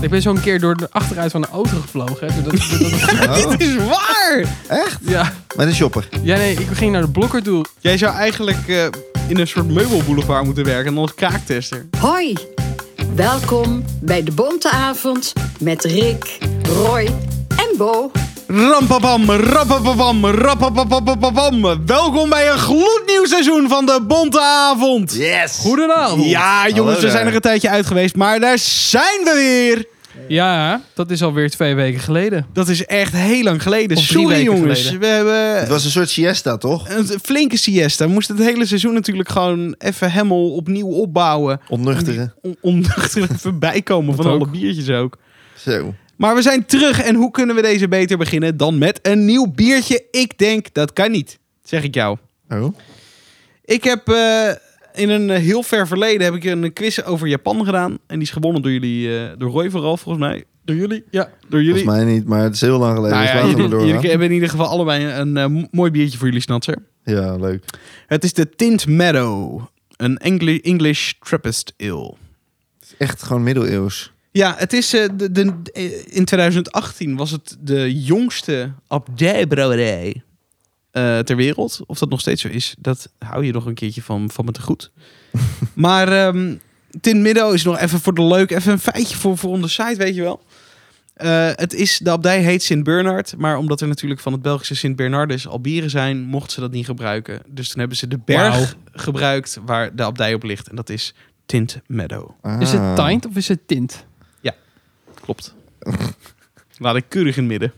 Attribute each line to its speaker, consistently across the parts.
Speaker 1: Ik ben zo'n keer door de achteruit van een auto gevlogen. hè, zodat- zodat-
Speaker 2: Oh.
Speaker 3: Dit is waar!
Speaker 2: Echt?
Speaker 1: ja.
Speaker 2: Met een shopper.
Speaker 1: ja, nee, ik ging naar de blokker toe.
Speaker 3: Jij zou eigenlijk eh, in een soort meubelboulevard moeten werken en dan als kraaktester.
Speaker 4: Hoi, welkom bij de Bonte Avond met Rick, Roy en Bo.
Speaker 3: Rampapam, rappapapam, rappapapapapam. Welkom bij een gloednieuw seizoen van de Bonte Avond.
Speaker 2: Yes!
Speaker 1: Goedenavond.
Speaker 3: Ja, jongens, we
Speaker 2: daar.
Speaker 3: zijn er een tijdje uit geweest, maar daar zijn we weer.
Speaker 1: Ja, dat is alweer twee weken geleden.
Speaker 3: Dat is echt heel lang geleden.
Speaker 1: Of drie
Speaker 3: Sorry,
Speaker 1: weken
Speaker 3: jongens.
Speaker 1: geleden.
Speaker 3: We
Speaker 2: Het
Speaker 3: hebben
Speaker 2: was een soort siesta, toch?
Speaker 3: een flinke siesta. We moesten het hele seizoen natuurlijk gewoon even helemaal opnieuw opbouwen.
Speaker 2: Onnuchteren.
Speaker 3: On- Onnuchter voorbij komen van
Speaker 1: Dat ook.
Speaker 3: alle biertjes ook.
Speaker 2: Zo.
Speaker 3: Maar we zijn terug en hoe kunnen we deze beter beginnen dan met een nieuw biertje? Ik denk dat kan niet, zeg ik jou.
Speaker 2: Oh.
Speaker 3: Ik heb eh, in een eh, heel ver verleden heb ik een quiz over Japan gedaan. En die is gewonnen door jullie, eh, door Roy vooral volgens mij.
Speaker 1: Door jullie? Ja.
Speaker 3: Door jullie.
Speaker 2: Volgens mij niet, maar het is heel lang geleden.
Speaker 3: Nou
Speaker 2: dus
Speaker 3: ja,
Speaker 2: laten we
Speaker 3: jullie,
Speaker 2: door
Speaker 3: jullie hebben in ieder geval allebei een eh, mooi biertje voor jullie snatser.
Speaker 2: Ja, leuk.
Speaker 3: Het is de Tint Meadow, een Engli- English Trappist Ale.
Speaker 2: Het is echt gewoon middeleeuws.
Speaker 3: Ja, het is eh, de, de, eh, in 2018 was het de jongste abdijbrouwerij eh, ter wereld. Of dat nog steeds zo is, dat hou je nog een keertje van, van me te goed. maar ehm Tin Middo is nog even voor de leuk, even een feitje voor, voor onze site, weet je wel. Eh, het is, de abdij heet Sint Bernard, maar omdat er natuurlijk van het Belgische Sint Bernardus al bieren zijn, mochten ze dat niet gebruiken. Dus toen hebben ze de berg gebruikt waar de abdij op ligt en dat is Tint Meadow.
Speaker 2: Ah.
Speaker 1: Is het tint of is het tint?
Speaker 3: Klopt. Laat ik keurig in het midden.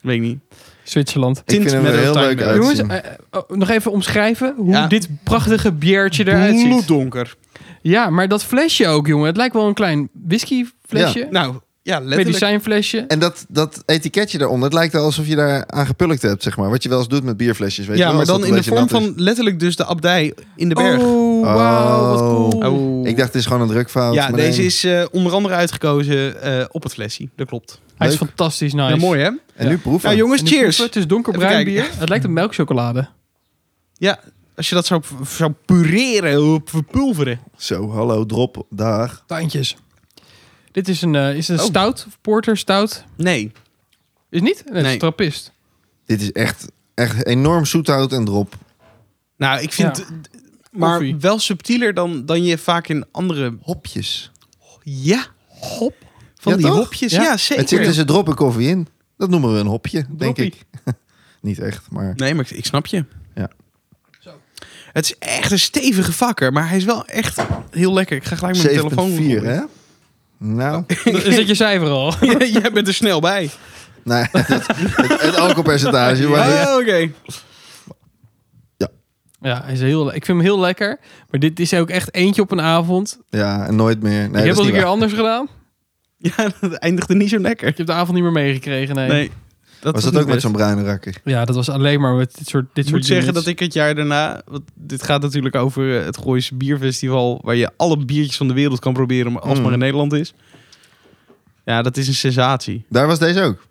Speaker 3: Weet ik niet.
Speaker 1: Zwitserland.
Speaker 2: Ik vind
Speaker 3: Tint
Speaker 2: hem
Speaker 3: met
Speaker 2: er
Speaker 3: een
Speaker 2: heel
Speaker 3: tuin
Speaker 2: leuk
Speaker 3: bij.
Speaker 2: uit.
Speaker 1: Jongens,
Speaker 2: zien.
Speaker 1: eh, eh, oh, nog even omschrijven hoe
Speaker 3: Ja.
Speaker 1: dit prachtige biertje eruit ziet.
Speaker 3: donker.
Speaker 1: Ja, maar dat flesje ook, jongen. Het lijkt wel een klein whiskyflesje.
Speaker 3: Nou, ja, letterlijk.
Speaker 1: medicijnflesje.
Speaker 2: En dat, dat etiketje daaronder, het lijkt wel alsof je daar aan gepulkt hebt, zeg maar. Wat je wel eens doet met bierflesjes, weet je nou
Speaker 3: ja, maar
Speaker 2: wel, als
Speaker 3: dan
Speaker 2: dat
Speaker 3: in
Speaker 2: een
Speaker 3: de
Speaker 2: beetje
Speaker 3: vorm
Speaker 2: nat is.
Speaker 3: van letterlijk dus de abdij in de berg.
Speaker 1: Oh, wauw, wat cool.
Speaker 3: Oh.
Speaker 2: dus- Ik dacht, het is gewoon een drukfout.
Speaker 3: ja,
Speaker 2: maar
Speaker 3: deze
Speaker 2: nee.
Speaker 3: is eh, onder andere uitgekozen eh, op het flesje. Dat klopt.
Speaker 1: Hij is
Speaker 2: leuk.
Speaker 1: fantastisch nice.
Speaker 3: Ja, mooi hè?
Speaker 2: En nu proeven.
Speaker 3: Nou jongens,
Speaker 1: En die proeven,
Speaker 3: cheers.
Speaker 1: Het is donkerbruin
Speaker 3: Even kijken.
Speaker 1: bier. Het lijkt op melkchocolade.
Speaker 3: Ja, als je dat zou, zou pureren, eh, verpulveren.
Speaker 2: Zo, hallo, drop, daar.
Speaker 1: Tandjes. Dit is een, eh, is het een
Speaker 3: Oh.
Speaker 1: stout, of porter stout.
Speaker 3: Nee.
Speaker 1: Is het niet? Nee, het is
Speaker 3: Nee.
Speaker 1: een trappist.
Speaker 2: Dit is echt, echt enorm zoethout en drop.
Speaker 3: Nou, ik vind...
Speaker 1: Ja.
Speaker 3: d- Maar
Speaker 1: Koffie.
Speaker 3: wel subtieler dan, dan je vaak in andere...
Speaker 2: Hopjes.
Speaker 3: Ja, hop. Van
Speaker 2: Ja,
Speaker 3: die
Speaker 2: toch?
Speaker 3: hopjes.
Speaker 1: Ja.
Speaker 3: Ja,
Speaker 2: Het
Speaker 3: zeker.
Speaker 2: zit tussen drop en koffie in. Dat noemen we een hopje, denk
Speaker 1: Droppie.
Speaker 2: ik. Niet echt, maar
Speaker 3: Nee, maar ik, ik snap je.
Speaker 2: Ja.
Speaker 1: Zo.
Speaker 3: Het is echt een stevige vakker, maar hij is wel echt heel lekker. Ik ga gelijk met mijn telefoon. Oh.
Speaker 2: 7.4, hè? Nou,
Speaker 1: Is dat je cijfer al?
Speaker 3: Jij bent er snel bij.
Speaker 2: nee, het, het, het alcoholpercentage. Maar dit-
Speaker 3: Ah, oké.
Speaker 1: Ja, hij is heel, le- ik vind hem heel lekker. Maar dit is ook echt eentje op een avond.
Speaker 2: ja, en nooit meer. Nee,
Speaker 1: ik heb
Speaker 2: dat
Speaker 1: al
Speaker 2: is
Speaker 1: een
Speaker 2: niet
Speaker 1: keer
Speaker 2: waar.
Speaker 1: anders gedaan.
Speaker 3: Ja, dat eindigde niet zo lekker.
Speaker 1: Ik heb de avond niet meer meegekregen, nee.
Speaker 3: Nee.
Speaker 2: Was dat
Speaker 3: niet
Speaker 2: ook met
Speaker 3: best.
Speaker 2: zo'n bruine rakker?
Speaker 1: Ja, dat was alleen maar met dit soort dit
Speaker 3: Ik
Speaker 1: soort
Speaker 3: moet zeggen
Speaker 1: units.
Speaker 3: dat ik het jaar daarna... Want dit gaat natuurlijk over eh, het Gooise Bierfestival... waar je alle biertjes van de wereld kan proberen... maar als het
Speaker 2: Mm.
Speaker 3: maar in Nederland is. Ja, dat is een sensatie.
Speaker 2: Daar was deze ook.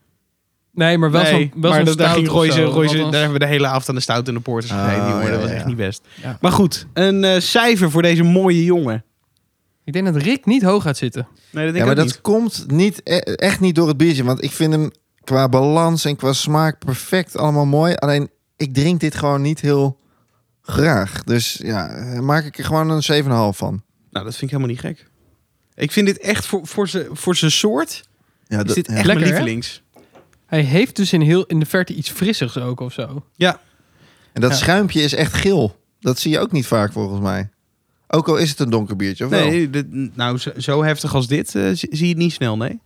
Speaker 1: Nee, maar wel
Speaker 3: nee,
Speaker 1: zo'n wel
Speaker 3: maar
Speaker 1: zo'n
Speaker 3: dat- daar
Speaker 1: stout
Speaker 3: ging
Speaker 1: of
Speaker 3: Royce,
Speaker 1: zo,
Speaker 3: Royce-
Speaker 1: althans.
Speaker 3: daar hebben we de hele avond aan de stout en de porters
Speaker 2: Ah,
Speaker 3: gegeten. jongen.
Speaker 2: ja,
Speaker 3: dat was
Speaker 2: ja,
Speaker 3: echt
Speaker 2: ja.
Speaker 3: niet best.
Speaker 1: Ja.
Speaker 3: Maar goed, een eh, cijfer voor deze mooie jongen.
Speaker 1: Ik denk dat Rick niet hoog gaat zitten.
Speaker 3: Nee, dat denk
Speaker 2: Ja,
Speaker 3: ik
Speaker 2: maar
Speaker 3: ook
Speaker 2: dat
Speaker 3: niet.
Speaker 2: komt niet, e- echt niet door het biertje. Want ik vind hem qua balans en qua smaak perfect allemaal mooi. Alleen, ik drink dit gewoon niet heel graag. Dus ja, eh, maak ik er gewoon een 7,5 van.
Speaker 3: Nou, dat vind ik helemaal niet gek. Ik vind dit echt voor, voor zijn voor z'n soort.
Speaker 2: Ja,
Speaker 3: Is
Speaker 2: dat-
Speaker 3: dit
Speaker 2: ja.
Speaker 3: echt
Speaker 1: Lekker,
Speaker 3: mijn
Speaker 1: hè?
Speaker 3: lievelings.
Speaker 1: Hij heeft dus in, heel, in de verte iets frissigs ook of zo.
Speaker 2: En dat
Speaker 1: Ja.
Speaker 2: schuimpje is echt geel. Dat zie je ook niet vaak volgens mij. Ook al is het een donker biertje, of wel?
Speaker 3: Nee, dit- nou, zo, zo heftig als dit eh, zie zie je het niet snel, nee.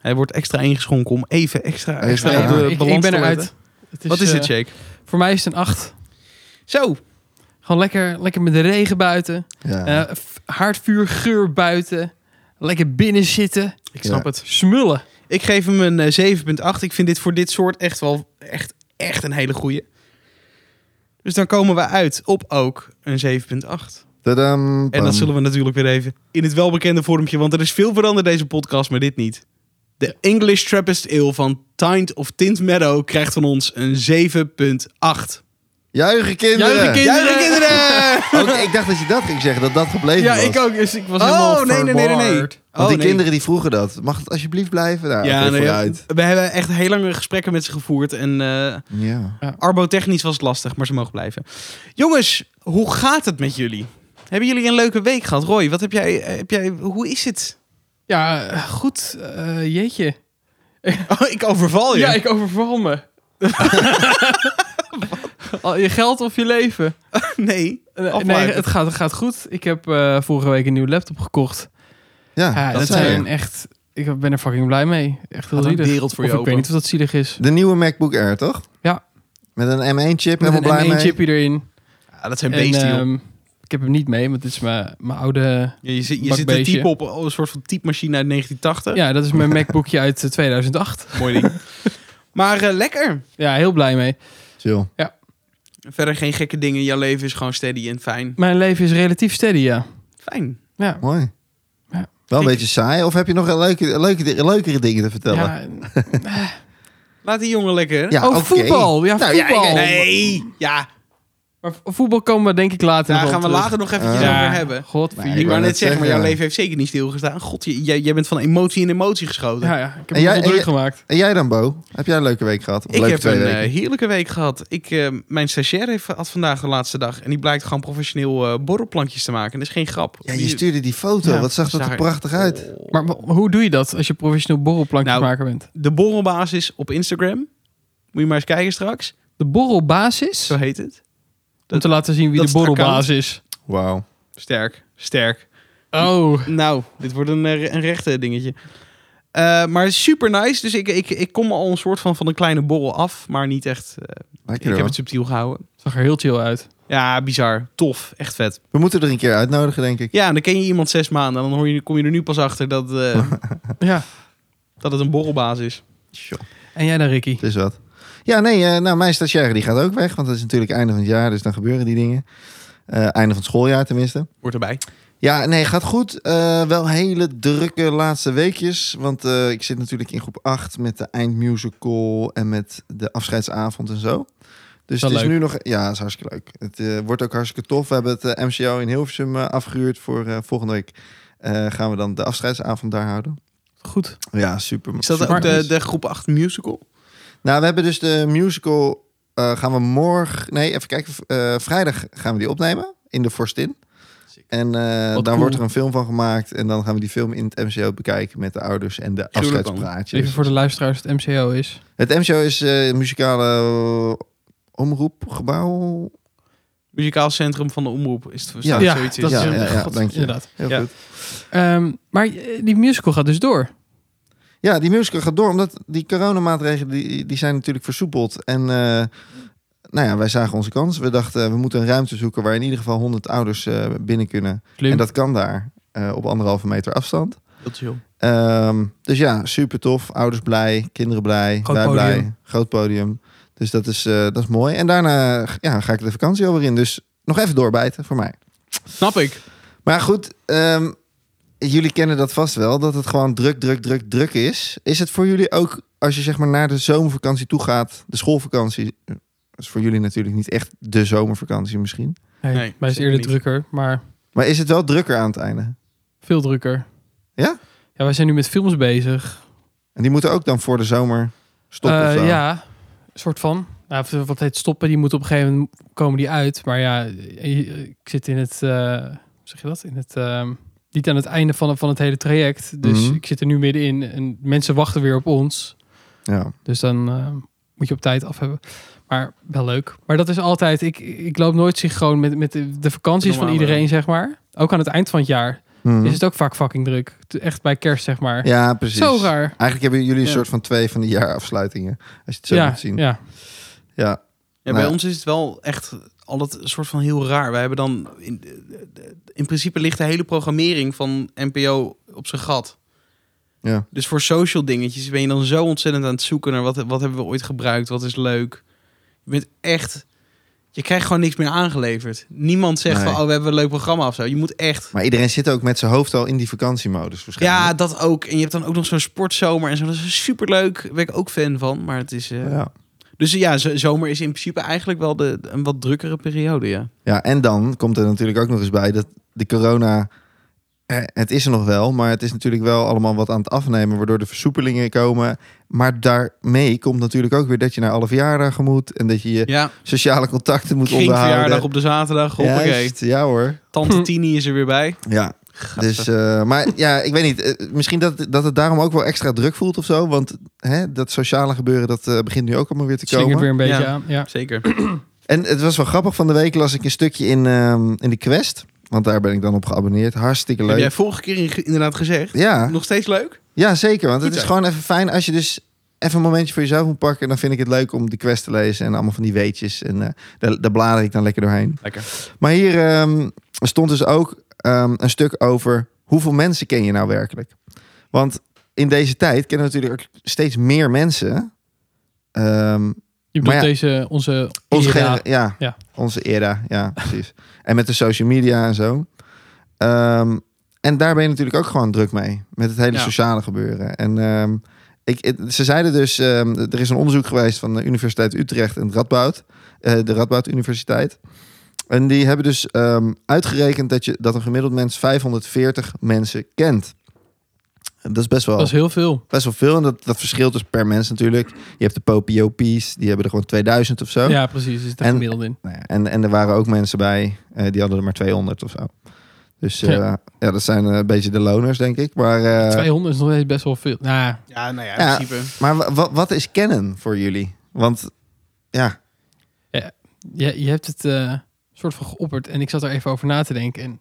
Speaker 3: Hij wordt extra ingeschonken om even extra,
Speaker 2: Even,
Speaker 3: extra
Speaker 2: ja.
Speaker 3: op de
Speaker 1: ik, ik
Speaker 3: balans
Speaker 1: ben
Speaker 3: te
Speaker 1: eruit.
Speaker 3: letten.
Speaker 1: Het
Speaker 3: Wat is
Speaker 1: eh,
Speaker 3: dit, Jake?
Speaker 1: Voor mij is het een 8.
Speaker 3: Zo.
Speaker 1: Gewoon lekker, lekker met de regen buiten.
Speaker 2: Ja.
Speaker 1: Eh, f- haardvuurgeur buiten. Lekker binnen zitten.
Speaker 3: Ik
Speaker 2: snap
Speaker 3: snap
Speaker 2: Ja.
Speaker 3: het.
Speaker 1: Smullen.
Speaker 3: Ik geef hem een eh, 7,8. Ik vind dit voor dit soort echt wel echt, echt een hele goeie. Dus dan komen we uit op ook een 7,8.
Speaker 2: Tadam,
Speaker 3: En
Speaker 2: pam.
Speaker 3: dat zullen we natuurlijk weer even in het welbekende vormpje, want er is veel veranderd deze podcast, maar dit niet. De English Trappist Ale van Tint of Tint Meadow krijgt van ons een 7,8.
Speaker 2: Juichen kinderen!
Speaker 1: Juichen kinderen!
Speaker 3: Juichen kinderen!
Speaker 2: Ook, ik dacht dat je dat ging zeggen, dat dat gebleven
Speaker 1: Ja,
Speaker 2: was.
Speaker 1: ik ook. Dus ik was helemaal
Speaker 3: Oh, nee, nee, nee, nee. nee.
Speaker 1: verward.
Speaker 3: Oh,
Speaker 2: Want die
Speaker 3: nee.
Speaker 2: kinderen die vroegen dat. Mag het alsjeblieft blijven? Nou,
Speaker 3: Ja,
Speaker 2: ja,
Speaker 3: nee, ja.
Speaker 2: vooruit.
Speaker 3: we hebben echt heel lange gesprekken met ze gevoerd. En eh
Speaker 2: Ja.
Speaker 3: arbotechnisch was het lastig, maar ze mogen blijven. Jongens, hoe gaat het met jullie? Hebben jullie een leuke week gehad? Roy, wat heb jij, eh, heb jij, hoe is het?
Speaker 1: Ja, eh, goed. eh, jeetje.
Speaker 3: Oh, ik overval je.
Speaker 1: Ja, ik overval me. Al je geld of je leven?
Speaker 3: Nee.
Speaker 1: Eh,
Speaker 3: Afmaken.
Speaker 1: Nee, het gaat, het gaat goed. Ik heb eh, vorige week een nieuwe laptop gekocht.
Speaker 2: Ja,
Speaker 1: Ja,
Speaker 2: Ah, dat
Speaker 1: dat
Speaker 2: zei
Speaker 1: zijn
Speaker 2: je.
Speaker 1: echt... Ik ben er fucking blij mee. Echt heel
Speaker 3: Had een
Speaker 1: zielig.
Speaker 3: wereld voor
Speaker 1: Of
Speaker 3: je
Speaker 1: ik weet
Speaker 3: open.
Speaker 1: niet of dat zielig is.
Speaker 2: De nieuwe MacBook Air, toch?
Speaker 1: Ja.
Speaker 2: Met een M1-chip,
Speaker 1: Met
Speaker 2: helemaal
Speaker 1: een
Speaker 2: blij mee.
Speaker 1: M1-chipje erin.
Speaker 3: Ja, dat zijn
Speaker 1: En,
Speaker 3: beesten, joh.
Speaker 1: ehm, ik heb hem niet mee, want dit is mijn, mijn oude...
Speaker 3: Ja, je zit, je zit te
Speaker 1: bakbeestje.
Speaker 3: typen op een soort van typemachine uit 1980.
Speaker 1: Ja, dat is mijn MacBookje uit eh, 2008.
Speaker 3: Mooi ding. maar eh, lekker.
Speaker 1: Ja, heel blij mee.
Speaker 2: Chill.
Speaker 3: Verder geen gekke dingen. Jouw leven is gewoon steady en fijn.
Speaker 1: Mijn leven is relatief steady, ja.
Speaker 3: Fijn.
Speaker 1: Ja.
Speaker 2: Mooi.
Speaker 1: Ja.
Speaker 2: Wel een
Speaker 3: Ik-
Speaker 2: beetje saai. Of heb je nog leuke, leuke, leukere dingen te vertellen?
Speaker 1: ja.
Speaker 3: Laat die jongen lekker.
Speaker 2: Ja,
Speaker 1: oh,
Speaker 2: oké.
Speaker 1: voetbal. Ja,
Speaker 2: Nou, ja, ik-
Speaker 1: voetbal.
Speaker 3: Nee. Ja,
Speaker 1: Maar vo- voetbal komen we denk ik later
Speaker 3: daar
Speaker 1: nog
Speaker 3: gaan we
Speaker 1: wel terug.
Speaker 3: later nog eventjes
Speaker 2: Ja.
Speaker 3: over hebben.
Speaker 1: God,
Speaker 2: Nee,
Speaker 1: vier.
Speaker 3: Ik wou
Speaker 2: wou
Speaker 3: net
Speaker 2: net
Speaker 3: zeggen, maar jouw
Speaker 2: zeggen.
Speaker 3: leven heeft zeker niet stilgestaan. God, je- jij, jij bent van emotie in emotie geschoten.
Speaker 1: Ja, ja, ik heb
Speaker 2: En jij-
Speaker 1: het
Speaker 2: en
Speaker 1: druk
Speaker 2: jij-
Speaker 1: gemaakt.
Speaker 2: En jij dan, Bo? Heb jij een leuke week gehad? Of
Speaker 3: Ik
Speaker 2: leuke
Speaker 3: heb
Speaker 2: twee
Speaker 3: een
Speaker 2: weken?
Speaker 3: eh, heerlijke week gehad. Ik, eh, mijn stagiair heeft, had vandaag de laatste dag. En die blijkt gewoon professioneel eh, borrelplankjes te maken. Dat is geen grap.
Speaker 2: Ja,
Speaker 3: Die-
Speaker 2: je stuurde die foto.
Speaker 1: Ja,
Speaker 2: Wat zag dat
Speaker 3: zag
Speaker 2: er
Speaker 3: ik.
Speaker 2: prachtig uit.
Speaker 3: Oh.
Speaker 1: Maar wa- hoe doe je dat als je professioneel borrelplankjesmaker bent?
Speaker 3: De borrelbasis op Instagram. Moet je maar eens kijken straks.
Speaker 1: De borrelbasis?
Speaker 3: Zo heet het.
Speaker 1: om
Speaker 3: dat-
Speaker 1: te laten zien wie
Speaker 3: dat
Speaker 1: de
Speaker 3: is het
Speaker 1: borrelbaas is.
Speaker 2: Wauw.
Speaker 3: Sterk, sterk.
Speaker 1: Oh,
Speaker 3: Nou, dit wordt een, eh, een rechte dingetje. Eh, maar super nice. Dus ik, ik, ik kom al een soort van van een kleine borrel af. Maar niet echt. eh,
Speaker 2: Lekker
Speaker 3: ik heb
Speaker 2: hoor.
Speaker 3: het subtiel gehouden.
Speaker 1: zag er heel chill uit.
Speaker 3: Ja, bizar. Tof. Echt vet.
Speaker 2: We moeten er een keer uitnodigen, denk ik.
Speaker 3: Ja, en dan ken je iemand zes maanden. En dan hoor je, kom je er nu pas achter dat, eh,
Speaker 1: Ja.
Speaker 3: dat het een borrelbaas is.
Speaker 2: Tjoh,
Speaker 1: En jij dan, Ricky?
Speaker 2: Het is wat. Ja, nee, eh, nou, mijn stagiaire die gaat ook weg. Want het is natuurlijk einde van het jaar, dus dan gebeuren die dingen. Eh, einde van het schooljaar tenminste.
Speaker 3: Hoort erbij.
Speaker 2: Ja, nee, gaat goed. Eh, wel hele drukke laatste weekjes. Want eh, ik zit natuurlijk in groep 8 met de eindmusical en met de afscheidsavond en zo. Dus
Speaker 1: Wel
Speaker 2: het is
Speaker 1: leuk.
Speaker 2: nu nog... Ja, het is hartstikke leuk. Het eh, wordt ook hartstikke tof. We hebben het eh, MCO in Hilversum eh, afgehuurd voor eh, volgende week. eh, gaan we dan de afscheidsavond daar houden.
Speaker 1: Goed.
Speaker 2: Ja, super.
Speaker 3: Is dat
Speaker 2: super
Speaker 3: ook de,
Speaker 2: nice.
Speaker 3: de groep 8 musical?
Speaker 2: Nou, we hebben dus de musical... eh, gaan we morgen... Nee, even kijken. v- eh, vrijdag gaan we die opnemen in de Forstin.
Speaker 3: Sick.
Speaker 2: En eh,
Speaker 1: Wat
Speaker 2: dan
Speaker 1: cool.
Speaker 2: wordt er een film van gemaakt. En dan gaan we die film in het MCO bekijken met de ouders en de
Speaker 3: Gruwelijk,
Speaker 1: Even
Speaker 2: afscheidspraatjes.
Speaker 1: voor de luisteraars het MCO is.
Speaker 2: Het MCO is eh, een muzikale eh, omroepgebouw.
Speaker 3: Muzikaal centrum van de omroep. Is het
Speaker 2: Ja,
Speaker 3: ja, zoiets? Is. eh,
Speaker 1: dat is
Speaker 2: Ja,
Speaker 1: een-
Speaker 2: ja, ja,
Speaker 1: God,
Speaker 2: dank je.
Speaker 1: Inderdaad.
Speaker 2: Heel
Speaker 3: Ja.
Speaker 2: goed.
Speaker 1: Ehm, maar eh, die musical gaat dus door.
Speaker 2: Ja, die musical gaat door, omdat die coronamaatregelen die, die zijn natuurlijk versoepeld. En eh, nou ja, wij zagen onze kans. We dachten, eh, we moeten een ruimte zoeken waar in ieder geval 100 ouders eh, binnen kunnen.
Speaker 1: Slim.
Speaker 2: En dat kan daar, eh, op anderhalve meter afstand.
Speaker 3: Heel chill.
Speaker 2: Ehm, dus ja, super tof. Ouders blij, kinderen blij,
Speaker 1: Groot
Speaker 2: wij
Speaker 1: podium.
Speaker 2: blij. Groot podium. Dus dat is, eh, dat is mooi. En daarna ja, ga ik de vakantie alweer in. Dus nog even doorbijten voor mij.
Speaker 3: Snap ik.
Speaker 2: Maar goed, ehm, jullie kennen dat vast wel. Dat het gewoon druk, druk, druk, druk is. Is het voor jullie ook, als je zeg maar naar de zomervakantie toe gaat... de schoolvakantie eh, is voor jullie natuurlijk niet echt de zomervakantie misschien.
Speaker 1: Nee,
Speaker 3: Nee,
Speaker 1: mij is
Speaker 3: zeker
Speaker 1: eerder
Speaker 3: niet.
Speaker 1: drukker, maar
Speaker 2: Maar is het wel drukker aan het einde?
Speaker 1: veel drukker.
Speaker 2: Ja?
Speaker 1: Ja, wij zijn nu met films bezig.
Speaker 2: En die moeten ook dan voor de zomer stoppen of
Speaker 1: Eh,
Speaker 2: zo?
Speaker 1: ja, soort van. Nou, of, eh, wat heet stoppen? Die moet op een gegeven moment komen die uit. Maar ja, eh, ik zit in het, eh, hoe zeg je dat? In het, ehm, niet aan het einde van, van het hele traject. Dus
Speaker 2: Mhm.
Speaker 1: ik zit er nu middenin en mensen wachten weer op ons.
Speaker 2: Ja.
Speaker 1: Dus dan eh, moet je op tijd af hebben. Maar wel leuk. Maar dat is altijd, ik, ik loop nooit synchroon met, met de, de vakanties van
Speaker 3: Normale.
Speaker 1: iedereen, zeg maar. Ook aan het eind van het jaar
Speaker 2: Mhm.
Speaker 1: is het ook vaak fucking druk. Echt bij kerst, zeg maar.
Speaker 2: Ja, precies.
Speaker 1: Zo raar.
Speaker 2: Eigenlijk hebben jullie een
Speaker 3: Ja.
Speaker 2: soort van twee van die jaarafsluitingen. Als je het zo
Speaker 1: ja,
Speaker 2: moet zien. Ja.
Speaker 1: ja.
Speaker 3: Ja,
Speaker 2: Nou
Speaker 3: bij
Speaker 2: ja.
Speaker 3: ons is het wel echt altijd een soort van heel raar. Wij hebben dan... In, in principe ligt de hele programmering van NPO op zijn gat.
Speaker 2: Ja.
Speaker 3: Dus voor social dingetjes ben je dan zo ontzettend aan het zoeken naar... wat, wat hebben we ooit gebruikt, wat is leuk. Je bent echt... Je krijgt gewoon niks meer aangeleverd. Niemand zegt
Speaker 2: Nee.
Speaker 3: van, oh, we hebben een leuk programma of zo. Je moet echt...
Speaker 2: Maar iedereen zit ook met zijn hoofd al in die vakantiemodus
Speaker 3: Ja,
Speaker 2: waarschijnlijk.
Speaker 3: dat ook. En je hebt dan ook nog zo'n sportzomer en zo. Dat is superleuk. Daar ben ik ook fan van. Maar het is... eh,
Speaker 2: ja.
Speaker 3: Dus ja, z- zomer is in principe eigenlijk wel de, een wat drukkere periode, ja.
Speaker 2: Ja, en dan komt er natuurlijk ook nog eens bij dat de corona. eh, Het is er nog wel, maar het is natuurlijk wel allemaal wat aan het afnemen, waardoor de versoepelingen komen. Maar daarmee komt natuurlijk ook weer dat je naar alle verjaardagen moet en dat je je
Speaker 3: Ja,
Speaker 2: sociale contacten moet
Speaker 3: verjaardag
Speaker 2: onderhouden.
Speaker 3: op de zaterdag. Hoppakee.
Speaker 2: Juist, Hm. ja hoor.
Speaker 3: Tante Tini is er weer bij.
Speaker 2: Ja. Dus, eh, maar ja, ik weet niet. eh, misschien dat, dat het daarom ook wel extra druk voelt of zo. Want hè, dat sociale gebeuren, dat eh, begint nu ook allemaal weer te komen.
Speaker 1: Slingert weer een beetje
Speaker 3: Ja.
Speaker 1: aan. Ja.
Speaker 3: Zeker.
Speaker 2: En het was wel grappig. Van de week las ik een stukje in, ehm, in de Quest. Want daar ben ik dan op geabonneerd. Hartstikke
Speaker 3: Heb jij
Speaker 2: leuk.
Speaker 3: vorige keer in- inderdaad gezegd.
Speaker 2: Ja,
Speaker 3: Nog steeds leuk?
Speaker 2: ja, zeker. Want het
Speaker 3: Goed
Speaker 2: is
Speaker 3: zo.
Speaker 2: gewoon even fijn als je dus even een momentje voor jezelf moet pakken. Dan vind ik het leuk om de Quest te lezen en allemaal van die weetjes. En eh, daar, daar blader ik dan lekker doorheen.
Speaker 3: Lekker.
Speaker 2: Maar hier ehm, stond dus ook ehm, een stuk over hoeveel mensen ken je nou werkelijk? Want in deze tijd kennen natuurlijk ook steeds meer mensen ehm,
Speaker 1: Je
Speaker 2: Maar
Speaker 1: bedoelt deze, onze,
Speaker 2: onze
Speaker 1: era.
Speaker 2: genera- ja,
Speaker 1: Ja.
Speaker 2: onze era, ja, precies. En met de social media en zo. Ehm, en daar ben je natuurlijk ook gewoon druk mee. Met het hele
Speaker 3: Ja.
Speaker 2: sociale gebeuren. En ehm, ik, het- ze zeiden dus, ehm, er is een onderzoek geweest van de Universiteit Utrecht en het Radboud. eh, de Radboud Universiteit. En die hebben dus ehm, uitgerekend dat, je, dat een gemiddeld mens 540 mensen kent. En Dat is best wel
Speaker 1: Dat is heel veel.
Speaker 2: best wel veel. En dat, dat verschilt dus per mens natuurlijk. Je hebt de popiopies, die hebben er gewoon 2000 of zo.
Speaker 1: Ja, precies. Er zit een
Speaker 2: En-
Speaker 1: gemiddelde in.
Speaker 2: Nou ja, en, en er waren ook mensen bij, eh, die hadden er maar 200 of zo. Dus eh, ja.
Speaker 1: Ja.
Speaker 2: dat zijn eh, een beetje de loners, denk ik. Maar, eh,
Speaker 1: 200 is nog steeds best wel veel. Nou,
Speaker 3: Ja, nou ja,
Speaker 2: Ja.
Speaker 3: in principe.
Speaker 2: maar wa- wa- wat is kennen voor jullie? Want ja,
Speaker 1: je, je hebt het eh, soort van geopperd en ik zat er even over na te denken. En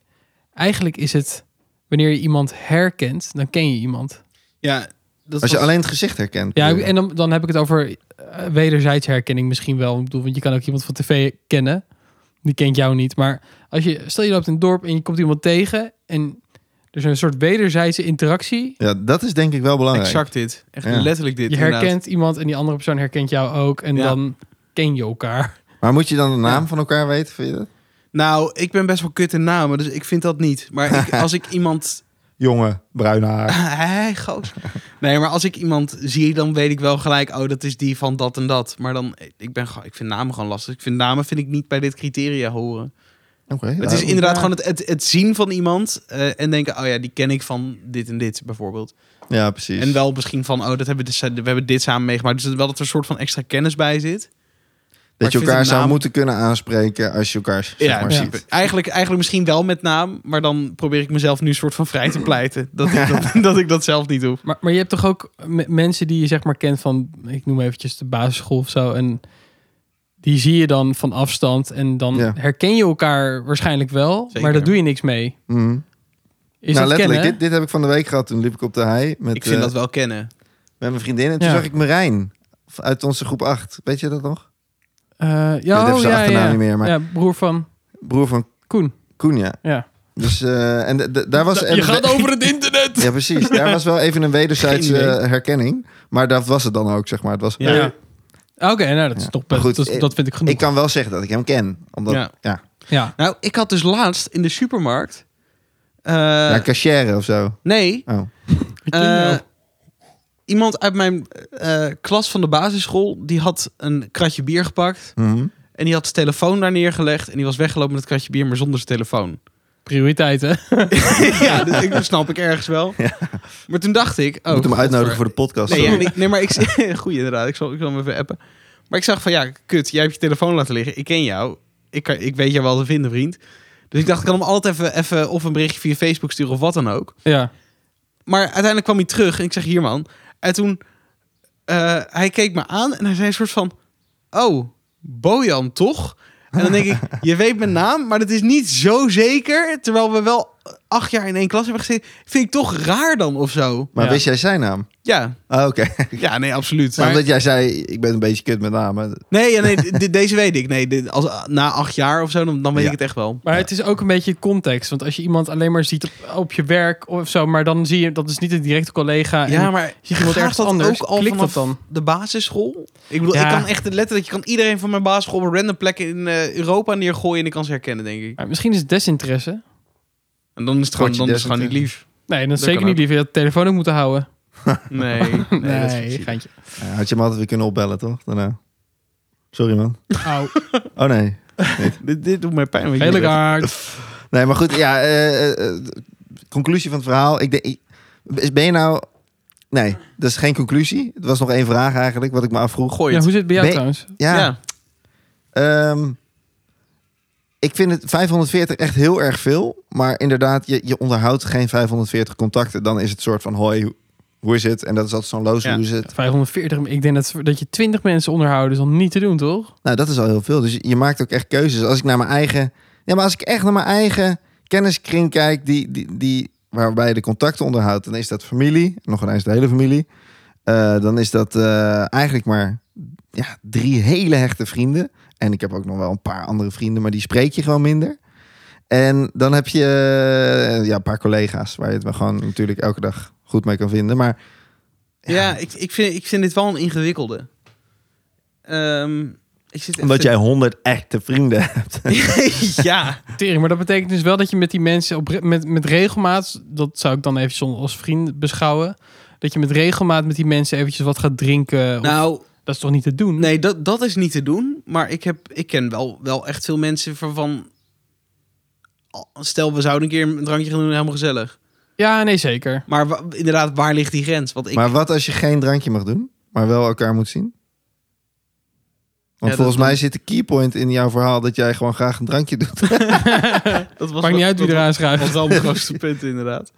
Speaker 1: eigenlijk is het, wanneer je iemand herkent, dan ken je iemand.
Speaker 3: Ja, dat
Speaker 2: als je
Speaker 3: was-
Speaker 2: alleen het gezicht herkent.
Speaker 1: Ja,
Speaker 2: bedoel je?
Speaker 1: en dan, dan heb ik het over eh, wederzijds herkenning misschien wel. Ik bedoel, want je kan ook iemand van tv kennen. Die kent jou niet. Maar als je, stel je loopt in een dorp en je komt iemand tegen en er is een soort wederzijdse interactie.
Speaker 2: ja, dat is denk ik wel belangrijk.
Speaker 3: Exact dit. Echt
Speaker 2: Ja.
Speaker 3: letterlijk dit.
Speaker 1: Je
Speaker 3: inderdaad.
Speaker 1: herkent iemand en die andere persoon herkent jou ook. En
Speaker 3: Ja.
Speaker 1: dan ken je elkaar.
Speaker 2: Maar moet je dan de naam
Speaker 3: Ja.
Speaker 2: van elkaar weten, vind je dat?
Speaker 3: Nou, ik ben best wel kut in namen, dus ik vind dat niet. Maar ik, als ik iemand...
Speaker 2: Jongen, bruin haar.
Speaker 3: Hé, goos. Nee, maar als ik iemand zie, dan weet ik wel gelijk... oh, dat is die van dat en dat. Maar dan, ik, ben, gewoon- ik vind namen gewoon lastig. Ik vind namen vind ik niet bij dit criteria horen.
Speaker 2: Oké.
Speaker 3: Het is
Speaker 2: daarom.
Speaker 3: inderdaad
Speaker 1: ja.
Speaker 3: gewoon het, het, het zien van iemand... eh, en denken, oh ja, die ken ik van dit en dit, bijvoorbeeld.
Speaker 2: Ja, precies.
Speaker 3: En wel misschien van, oh, dat hebben we, dus- we hebben dit samen meegemaakt. Dus dat wel dat er een soort van extra kennis bij zit.
Speaker 2: dat
Speaker 3: ik
Speaker 2: je
Speaker 3: vind
Speaker 2: elkaar
Speaker 3: de
Speaker 2: zou
Speaker 3: naam-
Speaker 2: moeten kunnen aanspreken als je elkaar zeg
Speaker 3: ja, in
Speaker 2: maar
Speaker 1: ja.
Speaker 2: ziet.
Speaker 3: principe. Eigenlijk, eigenlijk misschien wel met naam, maar dan probeer ik mezelf nu een soort van vrij te pleiten. Dat ik dat, dat, ik dat zelf niet doe.
Speaker 1: Maar, maar je hebt toch ook m- mensen die je zeg maar kent van, ik noem eventjes de basisschool of zo. En die zie je dan van afstand. En dan
Speaker 2: Ja.
Speaker 1: herken je elkaar waarschijnlijk wel. Maar
Speaker 3: Zeker.
Speaker 1: daar doe je niks mee.
Speaker 2: Mhm.
Speaker 1: Is
Speaker 2: nou,
Speaker 1: dat
Speaker 2: letterlijk,
Speaker 1: kennen?
Speaker 2: dit, dit heb ik van de week gehad. Toen liep ik op de hei met,
Speaker 3: Ik vind
Speaker 2: eh,
Speaker 3: dat wel kennen.
Speaker 2: met mijn vriendin. En toen
Speaker 1: Ja.
Speaker 2: zag ik Marijn uit onze groep 8. Weet je dat nog?
Speaker 1: Eh,
Speaker 2: dat
Speaker 1: ja,
Speaker 2: heeft
Speaker 1: oh,
Speaker 2: zijn
Speaker 1: ja,
Speaker 2: achternaam
Speaker 1: ja.
Speaker 2: niet meer, maar-
Speaker 1: Ja, broer van
Speaker 2: Broer van
Speaker 1: Koen.
Speaker 2: Koen, ja.
Speaker 1: Ja.
Speaker 2: Dus, eh, en d- d- daar was...
Speaker 1: Je
Speaker 2: en-
Speaker 1: gaat over het internet.
Speaker 2: Ja, precies. Daar was wel even een wederzijdse
Speaker 3: Geen idee.
Speaker 2: eh, herkenning. Maar dat was het dan ook, zeg maar. Het was,
Speaker 3: Ja.
Speaker 1: Ja. Oké, nou dat is
Speaker 2: Ja.
Speaker 1: toch
Speaker 2: Maar
Speaker 1: best,
Speaker 2: goed,
Speaker 1: dat,
Speaker 2: ik-
Speaker 1: dat vind ik genoeg.
Speaker 2: Ik kan wel zeggen dat ik hem ken. Omdat, ja.
Speaker 3: Ja.
Speaker 2: Ja,
Speaker 1: Ja.
Speaker 3: Nou, ik had dus laatst in de supermarkt. eh,
Speaker 2: cachère of zo.
Speaker 3: nee,
Speaker 2: Oh.
Speaker 1: Wat je nou-
Speaker 3: eh, iemand uit mijn eh, klas van de basisschool die had een kratje bier gepakt.
Speaker 2: Mhm.
Speaker 3: En die had zijn telefoon daar neergelegd. En die was weggelopen met het kratje bier, maar zonder zijn telefoon.
Speaker 1: Prioriteiten.
Speaker 3: ja, dat, ik- dat snap ik ergens wel. Maar toen dacht ik... Oh,
Speaker 2: Moet hem
Speaker 3: godver.
Speaker 2: uitnodigen voor de podcast.
Speaker 3: Nee, ja,
Speaker 2: sorry.
Speaker 3: nee, nee, maar ik... Goeie inderdaad, ik zal, ik zal hem even appen. Maar ik zag van, ja, kut, jij hebt je telefoon laten liggen. Ik ken jou. Ik, kan, ik weet jou wel te vinden, vriend. Dus ik dacht, ik kan hem altijd even, even of een berichtje via Facebook sturen of wat dan ook.
Speaker 1: Ja.
Speaker 3: Maar uiteindelijk kwam hij terug en ik zeg, hier man. En toen, eh, hij keek me aan en hij zei een soort van... Oh, Bojan toch? En dan denk ik, je weet mijn naam, maar dat is niet zo zeker. Terwijl we wel acht jaar in één klas hebben gezeten. Vind ik toch raar dan of zo?
Speaker 2: Maar
Speaker 1: Ja.
Speaker 2: wist jij zijn naam?
Speaker 3: Ja,
Speaker 2: Oh, oké.
Speaker 3: ja nee, absoluut.
Speaker 2: Maar
Speaker 3: Maar-
Speaker 2: omdat jij zei, ik ben een beetje kut met namen.
Speaker 3: Nee, ja, nee d- d- deze weet ik. Nee, dit- als, na acht jaar of zo, dan, dan weet
Speaker 2: Ja.
Speaker 3: ik het echt wel.
Speaker 1: Maar het is ook een beetje context. Want als je iemand alleen maar ziet op, op je werk of zo, maar dan zie je dat is niet een directe collega. en
Speaker 3: Ja, maar
Speaker 1: je wilt ergens anders. Klik dat dan.
Speaker 3: de basisschool? Ik bedoel,
Speaker 1: Ja.
Speaker 3: ik kan echt letterlijk... Je kan iedereen van mijn basisschool op random plekken in eh, Europa neergooien... en ik kan ze herkennen, denk ik.
Speaker 1: maar misschien is het desinteresse.
Speaker 3: En dan is het gewoon,
Speaker 2: Potje
Speaker 3: dan is het gewoon niet lief.
Speaker 1: Nee, dan is
Speaker 3: Dat
Speaker 1: zeker
Speaker 3: kan
Speaker 1: niet liever je had de telefoon ook moeten houden.
Speaker 3: Nee, nee, dat is
Speaker 1: Nee,
Speaker 3: precies.
Speaker 1: geintje.
Speaker 2: Ja, had je hem altijd weer kunnen opbellen, toch? Daarna. Sorry man.
Speaker 1: Au,
Speaker 2: Oh nee.
Speaker 3: Dit, dit doet mij pijn. want jullie
Speaker 1: gele
Speaker 3: weten-
Speaker 1: kaart.
Speaker 2: Nee, maar goed, ja, eh, eh, eh, conclusie van het verhaal. Ik denk, ik- is- ben je nou... Nee, dat is geen conclusie. Het was nog één vraag eigenlijk, wat ik me afvroeg.
Speaker 3: Gooi
Speaker 1: Ja,
Speaker 3: het.
Speaker 1: hoe zit het bij jou
Speaker 2: Ben-
Speaker 1: trouwens?
Speaker 2: Ja, ehm, ik vind het 540 echt heel erg veel. Maar inderdaad, je, je onderhoudt geen 540 contacten. Dan is het soort van, hoi, hoe- hoe is het? En dat is altijd zo'n loze,
Speaker 3: Ja.
Speaker 2: hoe is het?
Speaker 1: 540, ik denk dat, dat je 20 mensen onderhouden is al niet te doen, toch?
Speaker 2: Nou, dat is al heel veel. Dus je- je maakt ook echt keuzes. Als ik naar mijn eigen. Ja, maar als ik echt naar mijn eigen kenniskring kijk, die, die, die, waarbij je de contacten onderhoudt, dan is dat familie. Nog ineens de hele familie. Eh, dan is dat eh, eigenlijk maar ja, drie hele hechte vrienden. En ik heb ook nog wel een paar andere vrienden, maar die spreek je gewoon minder. En dan heb je eh, ja, een paar collega's waar je het wel gewoon natuurlijk elke dag goed mee kan vinden. Maar
Speaker 3: Ja, ik, ik, vind, ik vind dit wel een ingewikkelde. Ehm, ik zit
Speaker 2: omdat jij
Speaker 3: even-
Speaker 2: honderd echte vrienden hebt.
Speaker 3: ja.
Speaker 1: Tering, maar dat betekent dus wel dat je met die mensen op, re- met, met regelmaat, dat zou ik dan even zon- als vriend beschouwen, dat je met regelmaat met die mensen eventjes wat gaat drinken. of-
Speaker 3: Nou,
Speaker 1: dat is toch niet te doen?
Speaker 3: nee, dat, dat is niet te doen. Maar ik, heb, ik ken wel, wel echt veel mensen waarvan... Stel, we zouden een keer een drankje gaan doen, helemaal gezellig.
Speaker 1: Ja, nee, zeker.
Speaker 3: Maar wa- inderdaad, waar ligt die grens? Want ik,
Speaker 2: Maar wat als je geen drankje mag doen, maar wel elkaar moet zien? Want
Speaker 3: dat
Speaker 2: volgens mij
Speaker 3: doe-
Speaker 2: zit de keypoint in jouw verhaal dat jij gewoon graag een drankje doet.
Speaker 3: dat was
Speaker 1: Maakt niet uit wie eraan schuift.
Speaker 3: Dat was wel mijn grootste punt, inderdaad.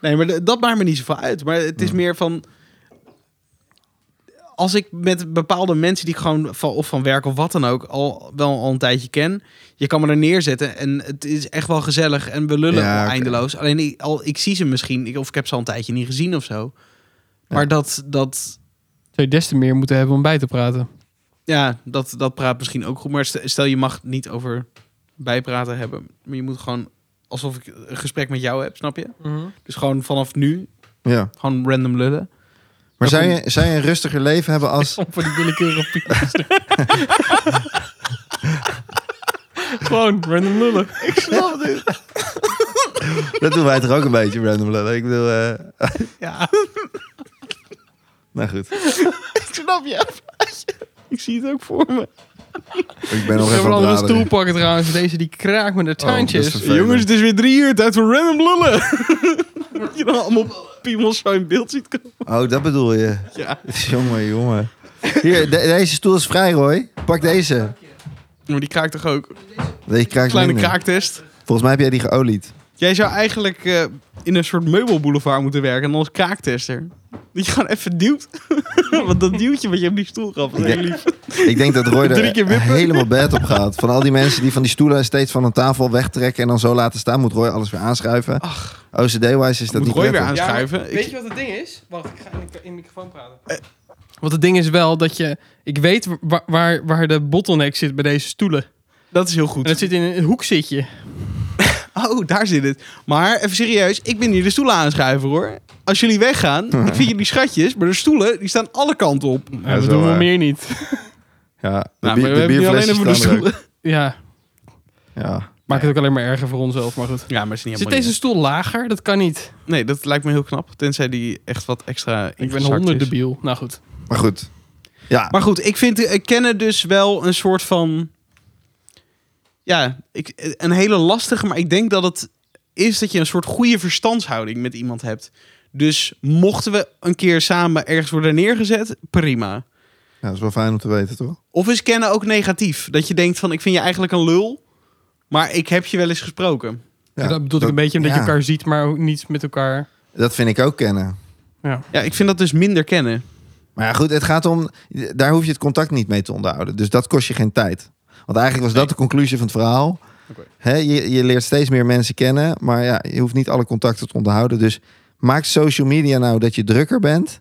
Speaker 3: Nee, maar de- dat maakt me niet zoveel uit. Maar het is meer van... Als ik met bepaalde mensen die ik gewoon van, of van werk of wat dan ook al wel al een tijdje ken, je kan me er neerzetten en het is echt wel gezellig en we lullen
Speaker 2: Ja, oké.
Speaker 3: eindeloos. Alleen ik, al, ik zie ze misschien, ik, of ik heb ze al een tijdje niet gezien of zo. Maar dat, dat,
Speaker 1: Zou je des te meer moeten hebben om bij te praten.
Speaker 3: ja, dat, dat praat misschien ook goed. Maar stel- stel je mag niet over bijpraten hebben, maar je moet gewoon alsof ik een gesprek met jou heb, snap je?
Speaker 1: Mhm.
Speaker 3: Dus gewoon vanaf nu,
Speaker 2: ja.
Speaker 3: gewoon random lullen.
Speaker 2: Maar zou je, zou je een rustiger leven hebben als...
Speaker 1: Om voor die willekeurige piepers. Gewoon random lullen.
Speaker 2: Dat doen wij toch ook een beetje, random lullen. Ik bedoel, eh,
Speaker 3: Ja,
Speaker 2: nou goed.
Speaker 3: ik snap je. ik zie het ook voor me.
Speaker 2: Ik ben nog
Speaker 1: We hebben
Speaker 2: even aan
Speaker 1: een
Speaker 2: het
Speaker 1: andere stoel
Speaker 2: bladeren.
Speaker 1: pakken trouwens. Deze die kraakt met de
Speaker 2: dat is
Speaker 1: tuintjes.
Speaker 2: vervelend. Jongens, het
Speaker 3: is weer drie uur, tijd voor random lullen. Dat je dan allemaal piemels zo in beeld ziet komen.
Speaker 2: Oh, dat bedoel je.
Speaker 3: Ja.
Speaker 2: Jongen, jongen. Hier, de- deze stoel is vrij, Roy. Pak deze.
Speaker 3: Maar die kraakt toch ook?
Speaker 2: Deze kraakt
Speaker 3: Kleine
Speaker 2: minder.
Speaker 3: kraaktest.
Speaker 2: Volgens mij heb jij die geolied.
Speaker 3: Jij zou eigenlijk eh, in een soort meubelboulevard moeten werken en als kraaktester. Dat je gewoon even duwt. Want dat duwtje wat je op die stoel gaf, dat is heel lief.
Speaker 2: Ik denk dat Roy
Speaker 3: Drie keer
Speaker 2: er
Speaker 3: wippen.
Speaker 2: helemaal bad op gaat. Van al die mensen die van die stoelen steeds van een tafel wegtrekken en dan zo laten staan, moet Roy alles weer aanschuiven. OCD-wise is dat
Speaker 3: Moet
Speaker 2: niet
Speaker 3: Roy weer
Speaker 2: prettig.
Speaker 3: aanschuiven. Ik-
Speaker 1: je wat het ding is? Wacht, ik ga in de, microfoon praten. Want het ding is wel dat je... Ik weet wa- waar, waar, de bottleneck zit bij deze stoelen.
Speaker 3: dat is heel goed.
Speaker 1: En het zit in een hoek zit je.
Speaker 3: Oh, daar zit het. Maar even serieus, ik ben hier de stoelen aanschuiven hoor. Als jullie weggaan, ik vind jullie schatjes, maar de stoelen die staan alle kanten op.
Speaker 1: Ja,
Speaker 2: is
Speaker 1: dat
Speaker 2: wel
Speaker 1: doen we
Speaker 2: waar.
Speaker 1: meer niet.
Speaker 2: Ja, de,
Speaker 3: Nou,
Speaker 2: bier-
Speaker 3: maar
Speaker 2: de
Speaker 3: we hebben nu alleen
Speaker 2: bierflessen
Speaker 3: even de
Speaker 2: staan er
Speaker 3: stoelen.
Speaker 1: Ja,
Speaker 2: ook. Ja.
Speaker 1: maakt het ook alleen maar erger voor onszelf, maar goed.
Speaker 3: Ja, maar is niet
Speaker 1: Zit
Speaker 3: helemaal.
Speaker 1: deze stoel lager? Dat kan niet.
Speaker 3: niet. Nee, dat lijkt me heel knap. Tenzij die echt wat extra.
Speaker 1: Ik ben
Speaker 3: ingezakt is.
Speaker 1: honderdebiel. Nou goed.
Speaker 2: Maar goed. Ja,
Speaker 3: Maar goed, ik vind eh, kennen dus wel een soort van. Ja, ik, eh, een hele lastige, maar ik denk dat het is dat je een soort goede verstandshouding met iemand hebt. Dus mochten we een keer samen ergens worden neergezet, prima.
Speaker 2: Ja, dat is wel fijn om te weten, toch?
Speaker 3: Of is kennen ook negatief? Dat je denkt van, ik vind je eigenlijk een lul, maar ik heb je wel eens gesproken.
Speaker 2: Ja,
Speaker 1: dat bedoel ik een beetje omdat
Speaker 2: ja,
Speaker 1: je elkaar ziet, maar ook niets met elkaar...
Speaker 2: Dat vind ik ook kennen.
Speaker 1: Ja.
Speaker 3: Ja, ik vind dat dus minder kennen.
Speaker 2: Maar ja, goed, het gaat om... Daar hoef je het contact niet mee te onderhouden. Dus dat kost je geen tijd. Want eigenlijk was dat de conclusie van het verhaal.
Speaker 3: Oké.
Speaker 2: Hè, je, je leert steeds meer mensen kennen. Maar ja, je hoeft niet alle contacten te onderhouden. Dus maak social media nou dat je drukker bent.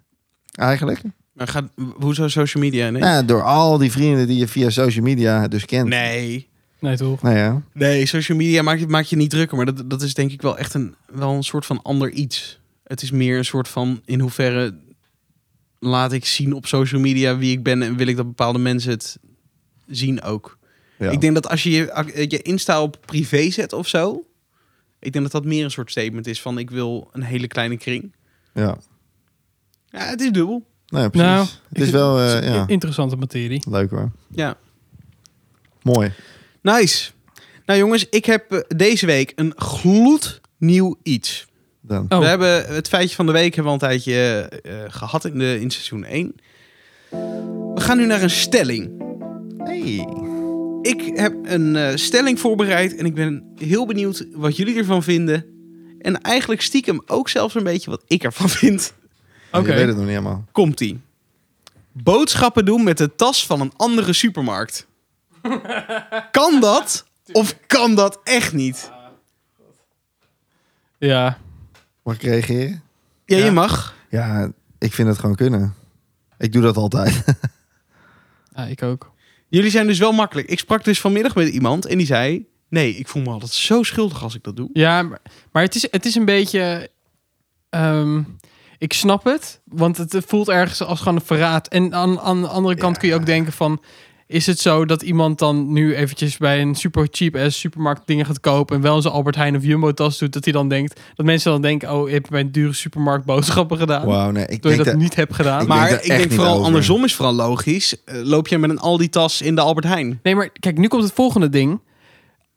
Speaker 2: Eigenlijk.
Speaker 3: Maar gaat, hoezo social media? Nee.
Speaker 2: Nou ja, door al die vrienden die je via social media dus kent.
Speaker 3: nee.
Speaker 1: Nee, toch?
Speaker 2: Nou ja.
Speaker 3: Nee, social media maakt je, maakt je niet drukker. Maar dat, dat is denk ik wel echt een, wel een soort van ander iets. Het is meer een soort van in hoeverre laat ik zien op social media wie ik ben en wil ik dat bepaalde mensen het zien ook.
Speaker 2: Ja.
Speaker 3: Ik denk dat als je je, ac- eh, je Insta op privé zet of zo, ik denk dat dat meer een soort statement is van ik wil een hele kleine kring.
Speaker 2: ja.
Speaker 3: Ja, het is dubbel.
Speaker 2: Nou ja, precies.
Speaker 1: Nou,
Speaker 2: het is wel eh, ja,
Speaker 1: Interessante materie.
Speaker 2: leuk hoor.
Speaker 3: Ja.
Speaker 2: Mooi.
Speaker 3: Nice. Nou jongens, ik heb eh, deze week een gloednieuw iets.
Speaker 2: Dan.
Speaker 1: Oh.
Speaker 3: We hebben het feitje van de week hebben we al een tijdje eh, eh, gehad in, de, in seizoen 1. We gaan nu naar een stelling.
Speaker 2: Hey.
Speaker 3: Ik heb een eh, stelling voorbereid en ik ben heel benieuwd wat jullie ervan vinden. En eigenlijk stiekem ook zelfs een beetje wat ik ervan vind.
Speaker 1: Oh, Oké.
Speaker 2: Je weet het nog niet helemaal.
Speaker 3: Komt-ie. Boodschappen doen met de tas van een andere supermarkt. kan dat of kan dat echt niet?
Speaker 1: Ja.
Speaker 2: Mag ik reageren?
Speaker 3: Ja,
Speaker 1: Ja.
Speaker 3: je mag.
Speaker 2: Ja, ik vind het gewoon kunnen. Ik doe dat altijd.
Speaker 1: ja, ik ook.
Speaker 3: Jullie zijn dus wel makkelijk. Ik sprak dus vanmiddag met iemand en die zei... Nee, ik voel me altijd zo schuldig als ik dat doe.
Speaker 1: Ja, maar, maar het, is, het is een beetje... ehm, ik snap het, want het voelt ergens als gewoon een verraad. En aan, aan de andere kant kun je ook denken van... Is het zo dat iemand dan nu eventjes bij een super cheap ass supermarkt dingen gaat kopen... en wel eens Albert Heijn of Jumbo tas doet, dat hij dan denkt... dat mensen dan denken, oh, ik heb bij een dure supermarkt boodschappen gedaan.
Speaker 2: Wauw, nee, ik
Speaker 1: Doordat
Speaker 2: denk
Speaker 1: je dat,
Speaker 2: dat...
Speaker 1: niet hebt gedaan.
Speaker 2: Ik
Speaker 3: maar
Speaker 2: denk daar
Speaker 3: ik
Speaker 2: echt
Speaker 3: denk
Speaker 2: niet
Speaker 3: vooral
Speaker 2: over.
Speaker 3: andersom is vooral logisch. Eh, loop jij met een Aldi-tas in de Albert Heijn?
Speaker 1: Nee, maar kijk, nu komt het volgende ding.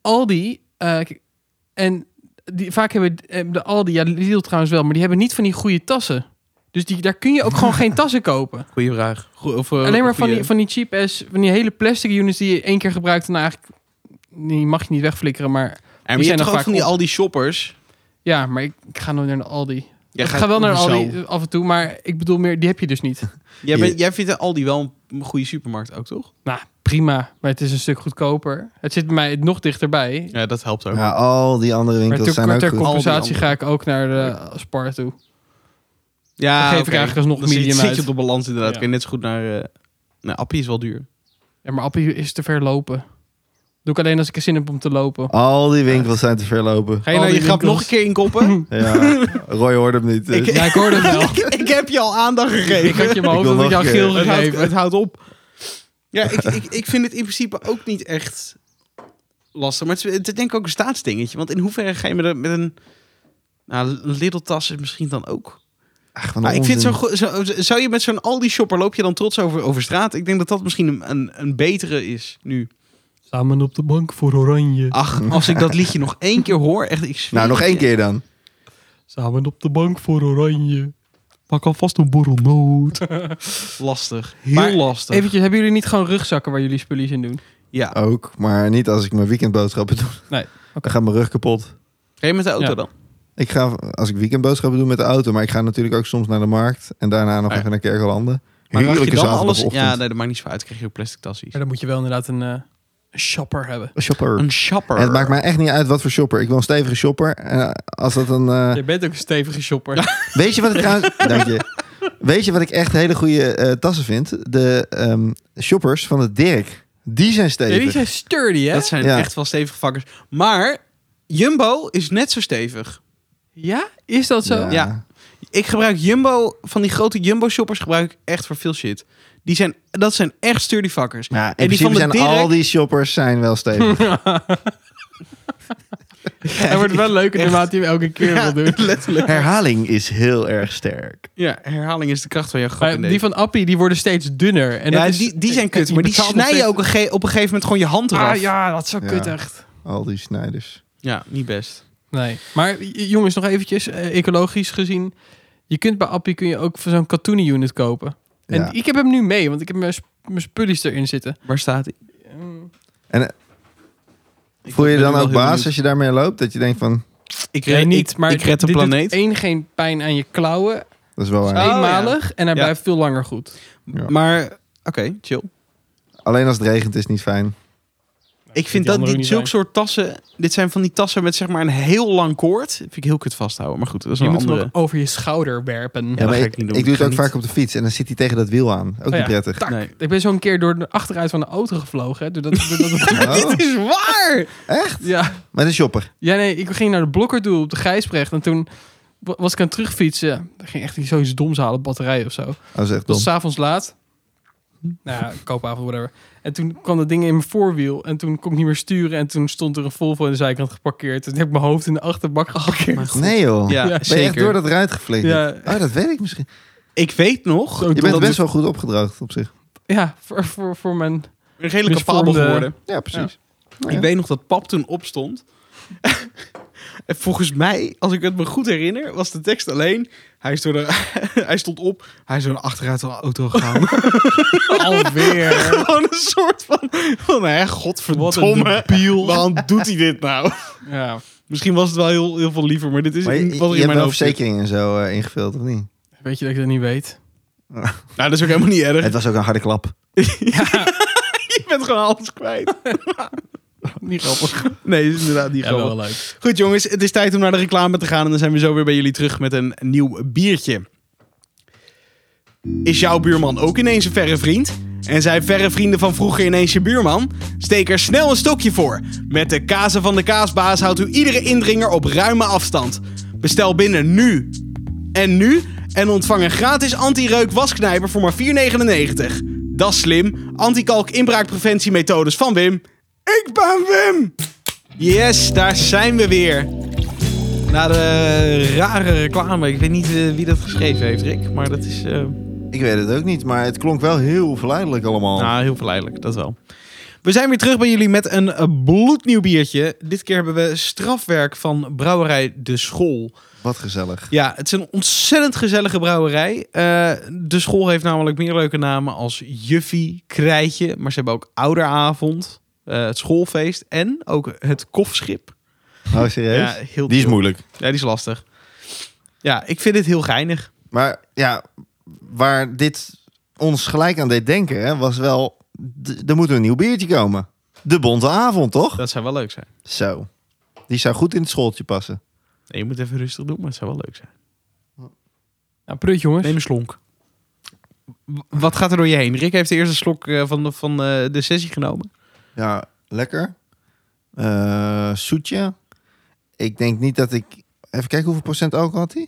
Speaker 1: Aldi, eh, kijk, en die, vaak hebben eh, de Aldi, ja Lidl trouwens wel, maar die hebben niet van die goede tassen. Dus die, daar kun je ook gewoon geen tassen kopen.
Speaker 3: Goeie vraag. Goe- of, eh,
Speaker 1: Alleen maar van
Speaker 3: Oh, goeie-
Speaker 1: die, van die cheap ass, van die hele plastic units die je één keer gebruikt en eigenlijk, die mag je niet wegflikkeren. Maar
Speaker 3: Ja, maar
Speaker 1: die
Speaker 3: je
Speaker 1: zijn
Speaker 3: hebt toch
Speaker 1: er
Speaker 3: ook van die
Speaker 1: vaak op.
Speaker 3: Aldi-shoppers?
Speaker 1: ja, maar ik, ik ga nooit naar de Aldi.
Speaker 3: Jij
Speaker 1: ik
Speaker 3: gaat
Speaker 1: ga wel naar de
Speaker 3: hoezo?
Speaker 1: Aldi eh, af en toe, maar ik bedoel meer, die heb je dus niet.
Speaker 3: Jij, bent- jij vindt de Aldi wel een goede supermarkt ook, toch?
Speaker 1: nou, prima, maar het is een stuk goedkoper. Het zit bij mij nog dichterbij.
Speaker 3: Ja, dat helpt ook.
Speaker 2: Ja, al die andere
Speaker 1: Maar
Speaker 2: winkels
Speaker 1: ter,
Speaker 2: zijn ook
Speaker 1: ter
Speaker 2: goed.
Speaker 3: Al die
Speaker 1: compensatie ga ik ook naar de Spar toe.
Speaker 3: Ja,
Speaker 1: Dan geef ik
Speaker 3: oké.
Speaker 1: eigenlijk alsnog
Speaker 3: Dan zit-
Speaker 1: medium
Speaker 3: zit,
Speaker 1: uit.
Speaker 3: je op de balans inderdaad.
Speaker 1: Ja.
Speaker 3: Kun je net zo goed naar... eh nou, Appie is wel duur.
Speaker 1: Ja, maar Appie is te ver lopen. Doe ik alleen als ik er zin heb om te lopen.
Speaker 2: Al die winkels zijn te verlopen.
Speaker 1: Ga
Speaker 3: Ga je nou
Speaker 1: naar
Speaker 3: je grap nog een keer inkoppen?
Speaker 2: Ja, Roy hoort hem niet. dus.
Speaker 3: Ik-
Speaker 1: Ja, ik hoorde het wel.
Speaker 3: ik, ik heb je al aandacht gegeven.
Speaker 1: ik had je in mijn
Speaker 2: Ik
Speaker 1: hoofd
Speaker 2: wil
Speaker 1: dat ik
Speaker 2: nog
Speaker 1: jou
Speaker 2: een
Speaker 1: geel
Speaker 2: keer.
Speaker 3: Het houdt,
Speaker 1: gegeven.
Speaker 3: het houdt op. Ja, ik, ik, ik vind het in principe ook niet echt lastig. Maar het is, het is denk ik ook een staatsdingetje. Want in hoeverre ga je met een... Met een nou, een Lidl-tas is misschien dan ook.
Speaker 2: Ach, wat een
Speaker 3: Maar ik vind
Speaker 2: onzin.
Speaker 3: zo, go- zo, zou je met zo'n Aldi-shopper loop je dan trots over, over straat? Ik denk dat dat misschien een, een, een betere is nu.
Speaker 1: Samen op de bank voor Oranje.
Speaker 3: Ach, als ik dat liedje nog één keer hoor, echt, ik zweer
Speaker 2: Nou, nog
Speaker 3: het
Speaker 2: één
Speaker 3: je.
Speaker 2: keer dan.
Speaker 1: Samen op de bank voor Oranje.
Speaker 3: Pak alvast een borrelnoot. lastig, heel
Speaker 1: Maar
Speaker 3: lastig.
Speaker 1: Eventjes, hebben jullie niet gewoon rugzakken waar jullie spulletjes in doen?
Speaker 3: Ja,
Speaker 2: Ook, maar niet als ik mijn weekendboodschappen doe.
Speaker 1: Nee, oké.
Speaker 2: Dan gaat mijn rug kapot.
Speaker 3: ga je met de auto
Speaker 1: Ja.
Speaker 3: dan?
Speaker 2: Ik ga, als ik weekendboodschappen doe met de auto, maar ik ga natuurlijk ook soms naar de markt en daarna nog
Speaker 3: Ja.
Speaker 2: even naar Kerkelanden.
Speaker 3: Maar mag je
Speaker 2: Heerlijke
Speaker 3: dan alles?
Speaker 2: zaterdagochtend.
Speaker 3: Ja, nee, dat maakt niet zo uit. Krijg je ook plastic tassies.
Speaker 1: Maar dan moet je wel inderdaad een eh, shopper hebben.
Speaker 2: Shopper.
Speaker 3: Een shopper.
Speaker 2: En het maakt mij echt niet uit wat voor shopper. Ik wil een stevige shopper. En als dat een... eh,
Speaker 1: Je bent ook een stevige shopper.
Speaker 2: Weet je wat ik trouwens... Dank je. Weet je wat ik echt hele goede eh, tassen vind? De ehm, shoppers van het Dirk. Die
Speaker 1: Ja,
Speaker 2: zijn
Speaker 1: die
Speaker 2: stevig.
Speaker 1: zijn sturdy, hè?
Speaker 3: Dat zijn
Speaker 2: Ja.
Speaker 3: echt wel stevige vakkers. Maar Jumbo is net zo stevig.
Speaker 1: Ja? Is dat zo?
Speaker 2: Ja.
Speaker 3: Ja. Ik gebruik Jumbo, van die grote Jumbo-shoppers gebruik ik echt voor veel shit. Die zijn, dat zijn echt sturdy vakkers.
Speaker 2: Ja, in
Speaker 3: en die
Speaker 2: principe
Speaker 3: van de
Speaker 2: zijn
Speaker 3: Dirk,
Speaker 2: al die shoppers zijn wel stevig.
Speaker 1: Hij wordt wel leuker
Speaker 3: Echt.
Speaker 1: naarmate hij hem elke keer
Speaker 3: Ja,
Speaker 1: wil doen.
Speaker 3: letterlijk.
Speaker 2: Herhaling is heel erg sterk.
Speaker 3: Ja, herhaling is de kracht van jouw grap.
Speaker 1: Maar
Speaker 3: in
Speaker 1: die
Speaker 3: deze.
Speaker 1: van Appie, die worden steeds dunner. En
Speaker 3: ja,
Speaker 1: dat is-
Speaker 3: die, die zijn
Speaker 1: en-
Speaker 3: kut,
Speaker 1: en
Speaker 3: maar die
Speaker 1: betaalt nog
Speaker 3: snijden
Speaker 1: steeds-
Speaker 3: ook een ge- op een gegeven moment gewoon je hand eraf.
Speaker 1: Ah ja, dat is zo
Speaker 2: Ja.
Speaker 1: kut echt.
Speaker 2: Al die snijders.
Speaker 3: ja, niet best.
Speaker 1: Nee. Maar j- jongens, nog eventjes, eh, ecologisch gezien. Je kunt bij Appie kun je ook voor zo'n katoenen unit kopen. En
Speaker 2: Ja.
Speaker 1: ik heb hem nu mee, want ik heb mijn, sp- mijn spulletjes erin zitten.
Speaker 3: Waar staat hij?
Speaker 2: Voel je
Speaker 3: ben
Speaker 2: dan
Speaker 3: wel
Speaker 2: ook
Speaker 3: heel
Speaker 2: baas
Speaker 3: benieuwd.
Speaker 2: als je daarmee loopt? Dat je denkt van,
Speaker 3: Ik
Speaker 1: Nee, Eh, niet, maar
Speaker 3: ik red de
Speaker 1: dit doet
Speaker 3: planeet.
Speaker 1: één, geen pijn aan je klauwen.
Speaker 2: dat is wel waar.
Speaker 3: Oh, ja.
Speaker 1: eenmalig. En hij
Speaker 3: Ja.
Speaker 1: blijft veel langer goed.
Speaker 2: Ja.
Speaker 3: Maar oké, chill.
Speaker 2: Alleen als het regent is het niet fijn.
Speaker 3: Ik vind
Speaker 1: die
Speaker 3: dat
Speaker 1: andere
Speaker 3: die
Speaker 1: ook
Speaker 3: zulke
Speaker 1: niet
Speaker 3: soort tassen. Dit zijn van die tassen met zeg maar een heel lang koord. Dat vind ik heel kut vasthouden. Maar goed, dat is
Speaker 1: Je
Speaker 3: een
Speaker 1: moet hem ook
Speaker 3: andere.
Speaker 1: over je schouder werpen.
Speaker 3: Ja, dat
Speaker 2: maar
Speaker 3: ga
Speaker 2: ik,
Speaker 3: ik niet doen.
Speaker 2: ik doe
Speaker 3: Ik
Speaker 2: het
Speaker 3: ga
Speaker 2: ook
Speaker 3: niet-
Speaker 2: vaak op de fiets en dan zit hij tegen dat wiel aan. Ook
Speaker 1: Oh ja.
Speaker 2: niet prettig.
Speaker 3: Nee.
Speaker 1: Ik ben zo'n keer door de achteruit van de auto gevlogen. hè, Doordat, doordat het-
Speaker 2: Oh.
Speaker 3: Dit is waar!
Speaker 1: ja.
Speaker 2: Met een shopper.
Speaker 1: Ja, nee, ik ging naar de blokker toe op de Gijsbrecht. En toen wa- was ik aan het terugfietsen. Er ging echt iets zoiets doms halen, batterij of zo. Het
Speaker 2: Dat is echt dom.
Speaker 1: was s'avonds laat. Nou ja, koopavond, whatever. En toen kwam dat ding in mijn voorwiel. En toen kon ik niet meer sturen. En toen stond er een Volvo aan de zijkant geparkeerd. En toen heb ik mijn hoofd in de achterbak geparkeerd.
Speaker 2: Nee joh.
Speaker 3: Ja,
Speaker 1: Ja.
Speaker 2: Ben je echt
Speaker 3: zeker.
Speaker 2: door dat ruit geflikkerd?
Speaker 1: Ja.
Speaker 2: Oh, dat weet ik misschien.
Speaker 3: Ik weet nog.
Speaker 1: Zo
Speaker 2: Je
Speaker 1: dom.
Speaker 2: dus bent best wel goed opgedroogd op zich.
Speaker 1: Ja, voor, voor, voor mijn
Speaker 3: redelijk capabel
Speaker 1: Misvormde-
Speaker 3: geworden.
Speaker 2: Ja, precies.
Speaker 3: Ik weet nog dat pap toen opstond. en volgens mij, als ik het me goed herinner, was de tekst alleen. Hij, is door de, hij stond op, hij is door een achteruit de auto gegaan.
Speaker 1: Alweer.
Speaker 3: Gewoon een soort van, van hè, Oh, nou godverdomme. Waarom doet hij dit nou?
Speaker 1: Ja.
Speaker 3: Misschien was het wel heel, heel veel liever, maar dit is
Speaker 2: Maar je,
Speaker 3: niet wat er
Speaker 2: je
Speaker 3: in
Speaker 2: hebt
Speaker 3: mijn
Speaker 2: wel
Speaker 3: hoofd zit.
Speaker 2: verzekeringen en zo eh, ingevuld, of niet?
Speaker 1: Weet je dat ik dat niet weet?
Speaker 3: Nou, dat is ook helemaal niet erg.
Speaker 2: Het was ook een harde klap.
Speaker 3: Je bent gewoon alles kwijt.
Speaker 1: Niet grappig.
Speaker 3: Nee, is inderdaad niet
Speaker 1: Ja, wel
Speaker 3: grappig.
Speaker 1: leuk.
Speaker 3: Goed jongens, het is tijd om naar de reclame te gaan en dan zijn we zo weer bij jullie terug met een nieuw biertje. Is jouw buurman ook ineens een verre vriend? En zijn verre vrienden van vroeger ineens je buurman? Steek er snel een stokje voor. Met de kazen van de kaasbaas houdt u iedere indringer op ruime afstand. Bestel binnen nu en nu en ontvang een gratis anti-reuk wasknijper voor maar 4,99. Dat is slim. Antikalk inbraakpreventiemethodes van Wim. Ik ben Wim! Yes, daar zijn we weer. Na de rare reclame. Ik weet niet eh, wie dat geschreven heeft, Rick. Maar dat is eh,
Speaker 2: Ik weet het ook niet, maar het klonk wel heel verleidelijk allemaal.
Speaker 3: nou, heel verleidelijk, dat wel. We zijn weer terug bij jullie met een eh, bloednieuw biertje. Dit keer hebben we strafwerk van brouwerij De School.
Speaker 2: Wat gezellig.
Speaker 3: Ja, het is een ontzettend gezellige brouwerij. Eh, de school heeft namelijk meer leuke namen als Juffie, Krijtje. Maar ze hebben ook Ouderavond, eh, het schoolfeest en ook het kofschip.
Speaker 2: Oh, serieus?
Speaker 3: heel
Speaker 2: Die is
Speaker 3: chill.
Speaker 2: moeilijk.
Speaker 3: Ja, die is lastig. Ja, ik vind dit heel geinig.
Speaker 2: Maar ja, waar dit ons gelijk aan deed denken, hè, was wel... d- Er moet een nieuw biertje komen. De Bonte Avond, toch?
Speaker 3: Dat zou wel leuk zijn.
Speaker 2: Zo. Die zou goed in het schooltje passen.
Speaker 3: Nee, je moet even rustig doen, maar het zou wel leuk zijn.
Speaker 1: Nou, prut jongens.
Speaker 3: Neem een slonk. W- Wat gaat er door je heen? Rick heeft de eerste slok eh, van, de, van eh, de sessie genomen.
Speaker 2: Ja, lekker. Eh soetje. Ik denk niet dat ik... Even kijken hoeveel procent alcohol had hij?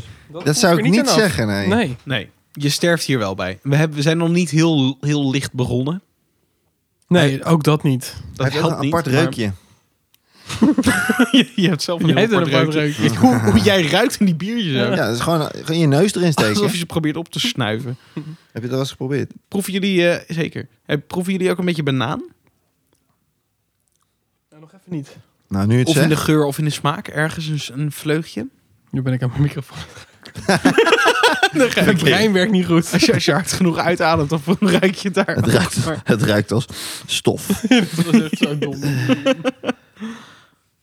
Speaker 3: 8,2.
Speaker 2: 8,2 Dat zou ik niet zeggen, nee.
Speaker 1: Nee.
Speaker 3: Nee, je sterft hier wel bij. We, hebben, we zijn nog niet heel, heel licht begonnen.
Speaker 1: Nee, ook dat niet.
Speaker 3: Dat
Speaker 2: Hij heeft
Speaker 3: helpt
Speaker 2: ook een
Speaker 3: niet,
Speaker 2: apart
Speaker 3: maar-
Speaker 2: reukje.
Speaker 3: je, je hebt zelf een
Speaker 1: Jij
Speaker 3: heel
Speaker 1: hebt
Speaker 3: apart
Speaker 1: een apart
Speaker 3: reukje. hoe, hoe jij ruikt in die biertjes. hè?
Speaker 2: Ja, dat is gewoon gewoon je neus erin steken.
Speaker 3: Alsof je ze probeert op te snuiven.
Speaker 2: Heb je dat wel eens geprobeerd?
Speaker 3: Proeven jullie, eh, zeker. Eh, Proeven jullie ook een beetje banaan?
Speaker 1: nog even niet.
Speaker 2: Nou, nu het
Speaker 3: Of in de
Speaker 2: zegt.
Speaker 3: geur of in de smaak? Ergens een, een vleugje?
Speaker 1: Nu ben ik aan mijn microfoon.
Speaker 3: Dan ga
Speaker 1: Mijn
Speaker 3: ik heen.
Speaker 1: brein werkt niet goed.
Speaker 3: Als je, als je hard genoeg uitademt, dan ruik je het daar.
Speaker 2: Het ruikt,
Speaker 3: Maar-
Speaker 2: het ruikt als stof.
Speaker 1: Dat was echt zo dom.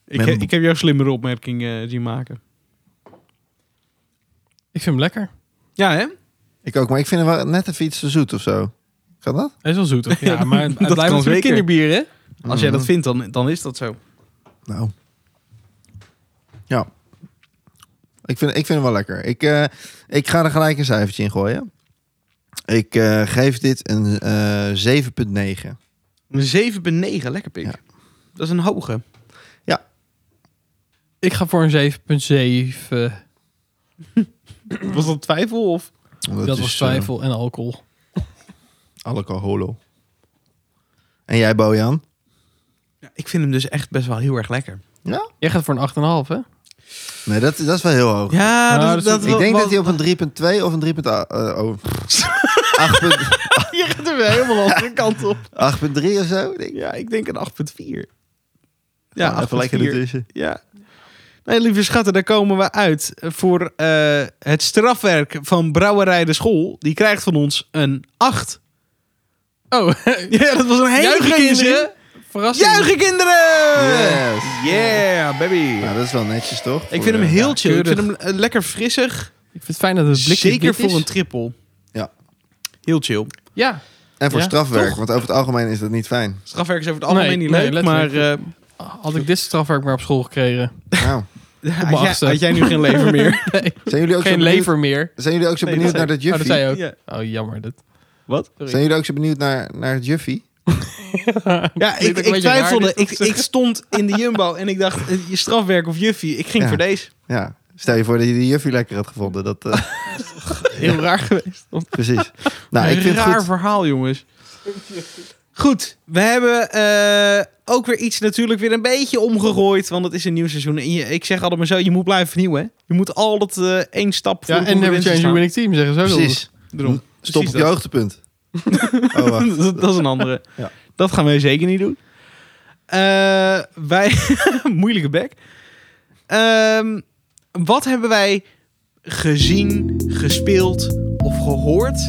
Speaker 3: Ik, he- ik heb jouw slimmere opmerking eh, zien maken.
Speaker 1: Ik vind hem lekker.
Speaker 3: Ja, hè?
Speaker 2: Ik ook, maar ik vind hem wel net even iets te zoet of zo. Kan dat?
Speaker 1: Hij is wel zoet. Of? Ja, maar het
Speaker 3: Dat
Speaker 1: blijft
Speaker 3: kan
Speaker 1: natuurlijk
Speaker 3: zeker.
Speaker 1: kinderbier, hè?
Speaker 3: Als
Speaker 2: Mm.
Speaker 3: jij dat vindt, dan, dan is dat zo.
Speaker 2: Nou. Ja. Ik vind, ik vind hem wel lekker. Ik, eh, ik ga er gelijk een cijfertje in gooien. Ik eh, geef dit een eh 7,9.
Speaker 3: Een 7 bij 9, lekker pik.
Speaker 2: Ja.
Speaker 3: Dat is een hoge.
Speaker 1: Ik ga voor een 7,7.
Speaker 3: Was dat twijfel? Of?
Speaker 2: Omdat
Speaker 1: Dat,
Speaker 2: het
Speaker 1: was
Speaker 2: is, eh,
Speaker 1: twijfel en alcohol.
Speaker 2: alcoholo. En jij, Bojan?
Speaker 3: Ja, ik vind hem dus echt best wel heel erg lekker.
Speaker 1: Jij gaat voor een 8,5, hè?
Speaker 2: Nee, dat, dat is wel heel hoog.
Speaker 3: Ja, dus
Speaker 1: Nou, dat is-
Speaker 2: ik denk dat hij op een 3,2 of een 3,8... eh, oh, pff, 8,3
Speaker 3: Je gaat er weer helemaal andere kant op.
Speaker 2: 8,3 of zo, denk ik.
Speaker 3: Ja, ik denk een 8,4.
Speaker 2: Ja,
Speaker 3: Ja,
Speaker 2: even lekker
Speaker 3: 8,4.
Speaker 2: ertussen.
Speaker 3: Ja. Nee, lieve schatten, daar komen we uit voor eh, het strafwerk van Brouwerij de School. Die krijgt van ons een 8.
Speaker 1: Oh,
Speaker 3: Ja, dat was een hele
Speaker 1: juichen
Speaker 3: goede zin.
Speaker 1: kinderen. Verrassing.
Speaker 3: Juichen kinderen!
Speaker 2: Yes.
Speaker 3: Yeah, baby.
Speaker 2: Nou, dat is wel netjes, toch?
Speaker 3: Ik
Speaker 2: Voor,
Speaker 3: vind hem
Speaker 2: eh,
Speaker 3: heel
Speaker 1: ja,
Speaker 3: chill. Ik
Speaker 1: keurig.
Speaker 3: vind hem eh, lekker frissig.
Speaker 1: Ik vind het fijn dat het blik
Speaker 3: Zeker voor een triple.
Speaker 2: Ja.
Speaker 3: Heel chill.
Speaker 1: Ja,
Speaker 2: En voor
Speaker 1: Ja,
Speaker 2: strafwerk,
Speaker 1: toch?
Speaker 2: want over het algemeen is dat niet fijn.
Speaker 3: Strafwerk is over het algemeen
Speaker 1: Nee,
Speaker 3: niet
Speaker 1: nee,
Speaker 3: leuk, maar...
Speaker 1: letterlijk.
Speaker 3: eh,
Speaker 1: had ik dit strafwerk maar op school gekregen.
Speaker 2: Nou,
Speaker 3: had,
Speaker 1: mijn
Speaker 3: jij,
Speaker 1: achtste.
Speaker 3: had jij nu geen lever meer?
Speaker 1: Nee,
Speaker 2: zijn jullie ook zo
Speaker 1: geen
Speaker 2: benieuwd,
Speaker 1: lever meer.
Speaker 2: Zijn jullie ook zo
Speaker 3: Nee,
Speaker 2: benieuwd
Speaker 3: dat
Speaker 2: naar dat
Speaker 1: Oh, dat zei
Speaker 2: Juffie?
Speaker 1: je ook.
Speaker 3: Ja.
Speaker 1: Oh, jammer. Dat...
Speaker 3: Wat?
Speaker 2: Zijn jullie ook zo benieuwd naar, naar het Juffie?
Speaker 3: Ja,
Speaker 1: Klinkt
Speaker 3: ik,
Speaker 1: ook een
Speaker 3: ik
Speaker 1: beetje
Speaker 3: twijfelde.
Speaker 1: raar, dit
Speaker 3: Ik, ik stond in de Jumbo en ik dacht, eh, je strafwerk of juffie. Ik ging
Speaker 2: Ja.
Speaker 3: voor deze.
Speaker 2: Ja. Stel je voor dat je die Juffie lekker had gevonden. Dat, eh,
Speaker 3: Heel raar geweest.
Speaker 2: precies. Nou, ik vind
Speaker 3: raar
Speaker 2: het goed.
Speaker 3: verhaal, jongens. Goed, we hebben eh, ook weer iets natuurlijk weer een beetje omgegooid. Want het is een nieuw seizoen. En je, ik zeg altijd maar zo, je moet blijven vernieuwen. hè. Je moet altijd eh één stap voor
Speaker 1: Ja,
Speaker 3: de
Speaker 1: en never
Speaker 3: concurrentie
Speaker 1: change your
Speaker 3: staan.
Speaker 1: winning team, zeggen ze ook.
Speaker 2: Precies.
Speaker 3: Daarom.
Speaker 2: Stop
Speaker 3: Precies
Speaker 2: op je
Speaker 3: dat.
Speaker 2: hoogtepunt. Oh, wacht.
Speaker 3: dat, dat is een andere.
Speaker 2: Ja.
Speaker 3: Dat gaan wij zeker niet doen. Eh, wij, moeilijke bek. Ehm, wat hebben wij gezien, gespeeld of gehoord?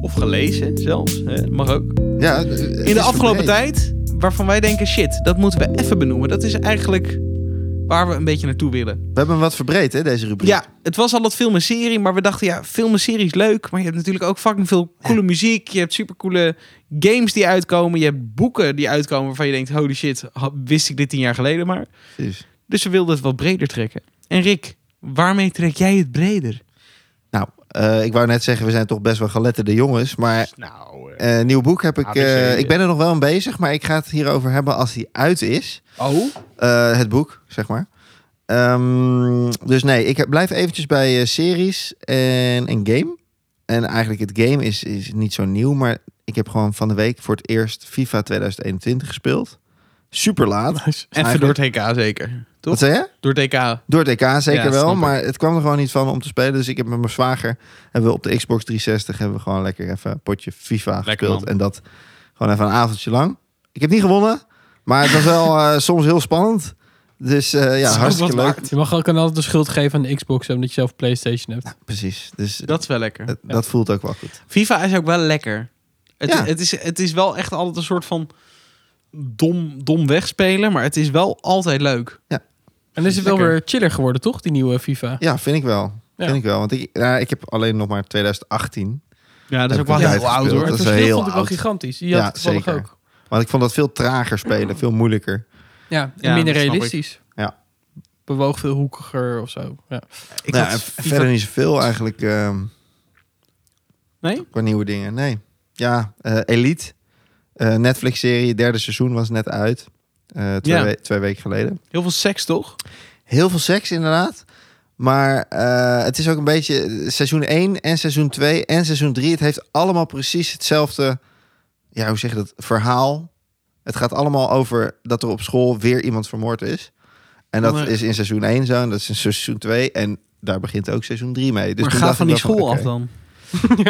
Speaker 3: Of gelezen zelfs, hè? mag ook.
Speaker 2: Ja, het is
Speaker 3: In de afgelopen
Speaker 2: verbreed.
Speaker 3: tijd, waarvan wij denken, shit, dat moeten we even benoemen. Dat is eigenlijk waar we een beetje naartoe willen.
Speaker 2: We hebben hem wat verbreed, hè, deze rubriek.
Speaker 3: Ja, het was al dat film en serie, maar we dachten ja, film en serie is leuk, maar je hebt natuurlijk ook fucking veel coole muziek, je hebt supercoole games die uitkomen, je hebt boeken die uitkomen waarvan je denkt, holy shit, ha- wist ik dit tien jaar geleden maar.
Speaker 2: Precies.
Speaker 3: Dus we wilden het wat breder trekken. En Rick, waarmee trek jij het breder?
Speaker 2: Nou, eh, ik wou net zeggen, we zijn toch best wel geletterde jongens. Maar
Speaker 3: Nou,
Speaker 2: eh nieuw boek heb ik...
Speaker 3: ABC,
Speaker 2: eh,
Speaker 3: eh.
Speaker 2: ik ben er nog wel aan bezig, maar ik ga het hierover hebben als die uit is.
Speaker 3: oh,
Speaker 2: Eh, het boek, zeg maar. Ehm, dus nee, ik heb- blijf eventjes bij eh, series en, en game. En eigenlijk het game is, is niet zo nieuw, maar ik heb gewoon van de week voor het eerst FIFA 2021 gespeeld. Super laat.
Speaker 3: even door het HK zeker.
Speaker 2: Wat
Speaker 3: Toch?
Speaker 2: zei je?
Speaker 3: Door het HK.
Speaker 2: Door het EK zeker
Speaker 3: Ja, snap
Speaker 2: wel,
Speaker 3: ik.
Speaker 2: maar het kwam er gewoon niet van om te spelen. Dus ik heb met mijn zwager, hebben we op de Xbox 360, hebben we gewoon lekker even een potje FIFA gespeeld.
Speaker 3: man.
Speaker 2: En dat gewoon even een avondje lang. Ik heb niet gewonnen, maar het was wel eh, soms heel spannend. Dus eh,
Speaker 3: is
Speaker 2: ja,
Speaker 3: ook
Speaker 2: hartstikke
Speaker 3: wat
Speaker 2: leuk.
Speaker 1: Je mag ook aan altijd de schuld geven aan de Xbox, omdat je zelf PlayStation hebt.
Speaker 2: Precies, dus eh,
Speaker 3: Dat is wel lekker.
Speaker 2: dat, dat voelt ook wel goed.
Speaker 3: FIFA is ook wel lekker. Het,
Speaker 2: Ja.
Speaker 3: het, is, het is wel echt altijd een soort van dom, dom wegspelen, maar het is wel altijd leuk.
Speaker 1: En is het wel
Speaker 3: Lekker.
Speaker 1: weer chiller geworden, toch? Die nieuwe FIFA.
Speaker 2: Ja, vind ik wel.
Speaker 1: Ja.
Speaker 2: Vind ik wel, want ik, nou, ik heb alleen nog maar 2018.
Speaker 3: Ja, dat is ook
Speaker 2: Heb
Speaker 3: wel
Speaker 2: ik het
Speaker 3: heel oud
Speaker 1: Maar
Speaker 2: uitgespeeld.
Speaker 3: hoor.
Speaker 1: het
Speaker 2: dat is
Speaker 1: verschil
Speaker 2: heel
Speaker 1: vond ik wel
Speaker 2: oud.
Speaker 1: gigantisch. Je
Speaker 2: Ja,
Speaker 1: had het toevallig
Speaker 2: zeker.
Speaker 1: ook.
Speaker 2: Want ik vond dat veel trager spelen, veel moeilijker.
Speaker 1: Ja, en
Speaker 3: Ja,
Speaker 1: minder
Speaker 3: dat snap
Speaker 1: realistisch.
Speaker 2: Ja.
Speaker 1: Bewoog veel hoekiger of zo. Ja.
Speaker 3: Ik
Speaker 2: Nou,
Speaker 3: had
Speaker 2: en
Speaker 3: FIFA-
Speaker 2: Verder niet zoveel eigenlijk. ehm,
Speaker 3: Nee?
Speaker 2: Qua nieuwe dingen, nee. Ja, eh, Elite. eh, Netflix-serie, derde seizoen was net uit. Eh, twee,
Speaker 3: Ja.
Speaker 2: we- twee weken geleden.
Speaker 3: Heel veel seks toch?
Speaker 2: Heel veel seks inderdaad. Maar eh, het is ook een beetje eh, seizoen 1 en seizoen 2 en seizoen 3. Het heeft allemaal precies hetzelfde, ja, hoe zeg je dat, verhaal. Het gaat allemaal over dat er op school weer iemand vermoord is. En dat
Speaker 3: Maar-
Speaker 2: is in seizoen 1 zo, en dat is in seizoen 2. En daar begint ook seizoen 3 mee. Dus
Speaker 3: maar
Speaker 2: toen
Speaker 3: ga
Speaker 2: dacht
Speaker 3: van
Speaker 2: ik
Speaker 3: die
Speaker 2: wel
Speaker 3: school
Speaker 2: oké.
Speaker 3: af dan.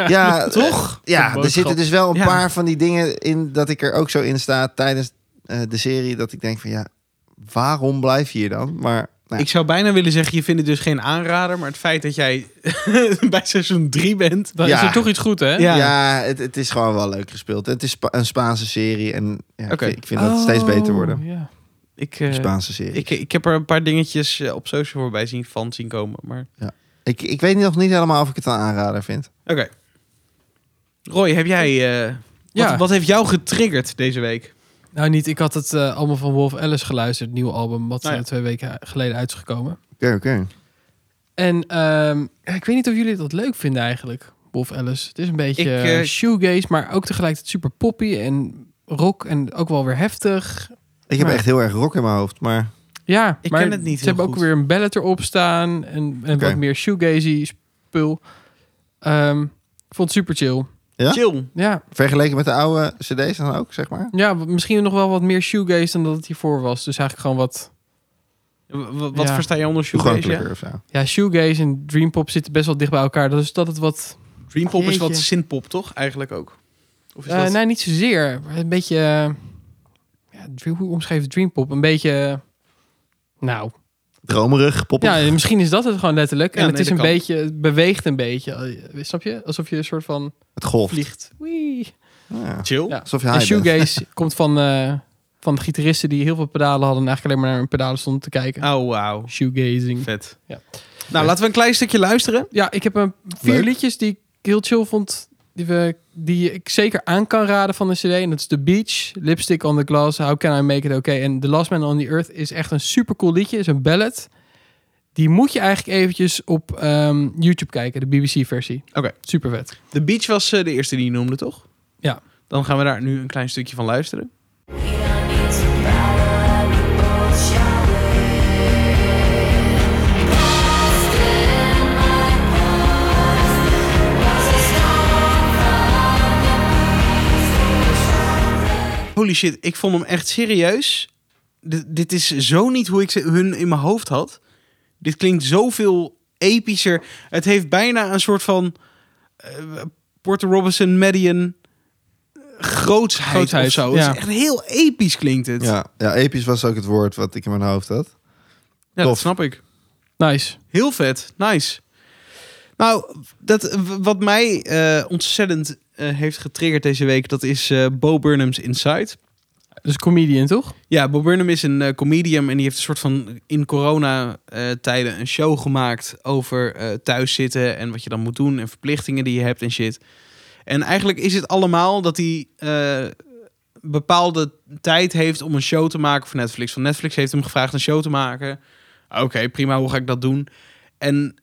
Speaker 2: Ja,
Speaker 3: Toch?
Speaker 1: Een
Speaker 2: Ja, er
Speaker 1: boodschap.
Speaker 2: zitten dus wel een
Speaker 3: Ja.
Speaker 2: paar van die dingen in dat ik er ook zo in sta tijdens eh, de serie. Dat ik denk van ja, waarom blijf je hier dan? Maar nou,
Speaker 3: Ik zou bijna willen zeggen, je vindt het dus geen aanrader, maar het feit dat jij bij seizoen 3 bent.
Speaker 1: Dan
Speaker 2: Ja.
Speaker 1: is er toch iets goed, hè?
Speaker 3: Ja.
Speaker 2: ja, het, het is gewoon wel leuk gespeeld. Het is Spa- een Spaanse serie en ja,
Speaker 3: Oké.
Speaker 2: ik, vind- ik vind dat het steeds beter worden.
Speaker 1: Ja.
Speaker 3: Ik,
Speaker 2: Een
Speaker 3: eh,
Speaker 2: Spaanse serie. Ik,
Speaker 3: ik, ik heb er een paar dingetjes eh, op social voorbij zien, van zien komen. Maar...
Speaker 2: ik, weet nog niet helemaal of ik het een aanrader vind.
Speaker 3: Oké. Roy, heb jij. eh,
Speaker 1: Ja.
Speaker 3: wat, wat heeft jou getriggerd deze week?
Speaker 1: Nou niet, ik had het eh, allemaal van Wolf Ellis geluisterd, het nieuwe album, wat
Speaker 3: Nou ja.
Speaker 1: eh, twee weken geleden uit is gekomen.
Speaker 2: Oké, oké.
Speaker 1: En ehm, ja, ik weet niet of jullie dat leuk vinden eigenlijk, Wolf Ellis. Het is een beetje
Speaker 3: Ik,
Speaker 1: eh,
Speaker 3: eh,
Speaker 1: shoegaze, maar ook tegelijkertijd super poppy en rock en ook wel weer heftig.
Speaker 2: Ik heb
Speaker 1: Maar-
Speaker 2: echt heel erg rock in mijn hoofd, maar
Speaker 1: Ja,
Speaker 3: Ik
Speaker 1: maar
Speaker 3: ken het
Speaker 1: Ze
Speaker 3: niet heel
Speaker 1: hebben ook
Speaker 3: goed.
Speaker 1: weer een ballad erop staan en, en
Speaker 2: Oké.
Speaker 1: wat meer shoegazy spul. Ehm, ik vond het super chill.
Speaker 2: Ja?
Speaker 3: Chill.
Speaker 1: Ja,
Speaker 2: vergeleken met de oude cd's dan ook, zeg maar.
Speaker 1: ja, misschien nog wel wat meer shoegaze dan dat het hiervoor was. Dus eigenlijk gewoon wat
Speaker 3: W- w- wat
Speaker 1: Ja.
Speaker 3: versta je onder shoegaze? ja?
Speaker 2: Toegankelijker of zo.
Speaker 1: Ja, shoegaze en dreampop zitten best wel dicht bij elkaar. Dus dat het wat...
Speaker 3: Dreampop is wat
Speaker 1: Jeetje.
Speaker 3: synthpop, toch? Eigenlijk ook. Of is
Speaker 1: eh,
Speaker 3: dat...
Speaker 1: nee, niet zozeer. Een beetje... eh, ja, dre- hoe omschreven dreampop? Een beetje... eh, nou,
Speaker 2: Dromerig, poppen.
Speaker 1: ja, misschien is dat het gewoon letterlijk.
Speaker 3: Ja,
Speaker 1: en het
Speaker 3: nee,
Speaker 1: is een
Speaker 3: dat kan.
Speaker 1: beetje... Het beweegt een beetje. Eh, Snap je? Alsof je een soort van
Speaker 2: het golf.
Speaker 1: vliegt. Wee.
Speaker 2: Ja.
Speaker 3: Chill.
Speaker 1: Ja.
Speaker 2: Alsof je
Speaker 1: En
Speaker 2: high bent.
Speaker 1: shoegaze komt van, eh, van gitaristen die heel veel pedalen hadden... en eigenlijk alleen maar naar hun pedalen stonden te kijken.
Speaker 3: Oh, wauw.
Speaker 1: Shoegazing.
Speaker 3: Vet.
Speaker 1: Ja.
Speaker 3: Nou, laten we een klein stukje luisteren.
Speaker 1: Ja, ik heb een vier
Speaker 2: Leuk.
Speaker 1: liedjes die ik heel chill vond. Die, we, die ik zeker aan kan raden van de CD. En dat is The Beach, Lipstick on the Glass, How Can I Make It Okay. En The Last Man on the Earth is echt een super cool liedje. is een ballad. Die moet je eigenlijk eventjes op ehm, YouTube kijken, de BBC-versie.
Speaker 3: Oké.
Speaker 1: Super vet.
Speaker 3: The Beach was eh, de eerste die je noemde, toch?
Speaker 1: Ja.
Speaker 3: Dan gaan we daar nu een klein stukje van luisteren. Holy shit, ik vond hem echt serieus. D- dit is zo niet hoe ik ze hun in mijn hoofd had. Dit klinkt zoveel epischer. Het heeft bijna een soort van eh, Porter Robinson, Median grootsheid,
Speaker 1: Grootsheid,
Speaker 3: of zo.
Speaker 1: ja.
Speaker 3: Het is echt heel episch klinkt het.
Speaker 2: Ja, ja, episch was ook het woord wat ik in mijn hoofd had.
Speaker 3: Ja, dat
Speaker 2: Tof.
Speaker 3: snap ik.
Speaker 1: Nice.
Speaker 3: Heel vet, nice. Nou, dat, w- wat mij eh, ontzettend eh, heeft getriggerd deze week, dat is eh Bo Burnham's Inside.
Speaker 1: Dus comedian, toch?
Speaker 3: Ja, Bob Burnham is een eh, comedian en die heeft een soort van in corona-tijden een show gemaakt over eh thuiszitten en wat je dan moet doen en verplichtingen die je hebt en shit. En eigenlijk is het allemaal dat hij eh, bepaalde tijd heeft om een show te maken voor Netflix. Van Netflix heeft hem gevraagd een show te maken. Oké, prima, hoe ga ik dat doen? En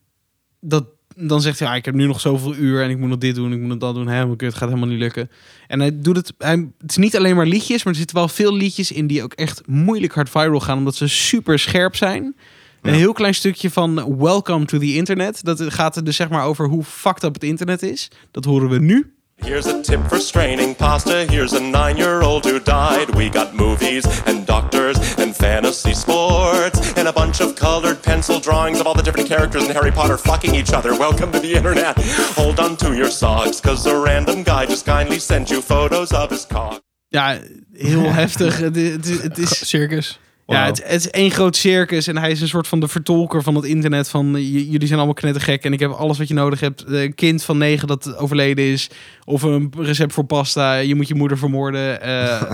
Speaker 3: dat, dan zegt hij, ah, ik heb nu nog zoveel uur en ik moet nog dit doen, ik moet nog dat doen. Helemaal kut, gaat helemaal niet lukken. En hij doet het. Hij, het is niet alleen maar liedjes, maar er zitten wel veel liedjes in die ook echt moeilijk hard viral gaan, omdat ze super scherp zijn. Een
Speaker 2: Ja.
Speaker 3: heel klein stukje van Welcome to the Internet. Dat gaat er dus zeg maar over hoe fucked up het internet is. Dat horen we nu.
Speaker 5: Here's a tip for straining pasta. Here's a nine year old who died. We got movies and doctors and fantasy sports and a bunch of colored pencil drawings of all the different characters in Harry Potter fucking each other. Welcome to the internet. Hold on to your socks, cause a random guy just kindly sent you photos of his cock.
Speaker 3: Ja, heel heftig. Het, is- het, is- het is,
Speaker 1: Circus.
Speaker 3: ja, het, het is één groot circus en hij is een soort van de vertolker van het internet. Van eh, j- jullie zijn allemaal knettergek en ik heb alles wat je nodig hebt. Eh, Een kind van negen dat overleden is. Of een recept voor pasta. Je moet je moeder vermoorden. Eh,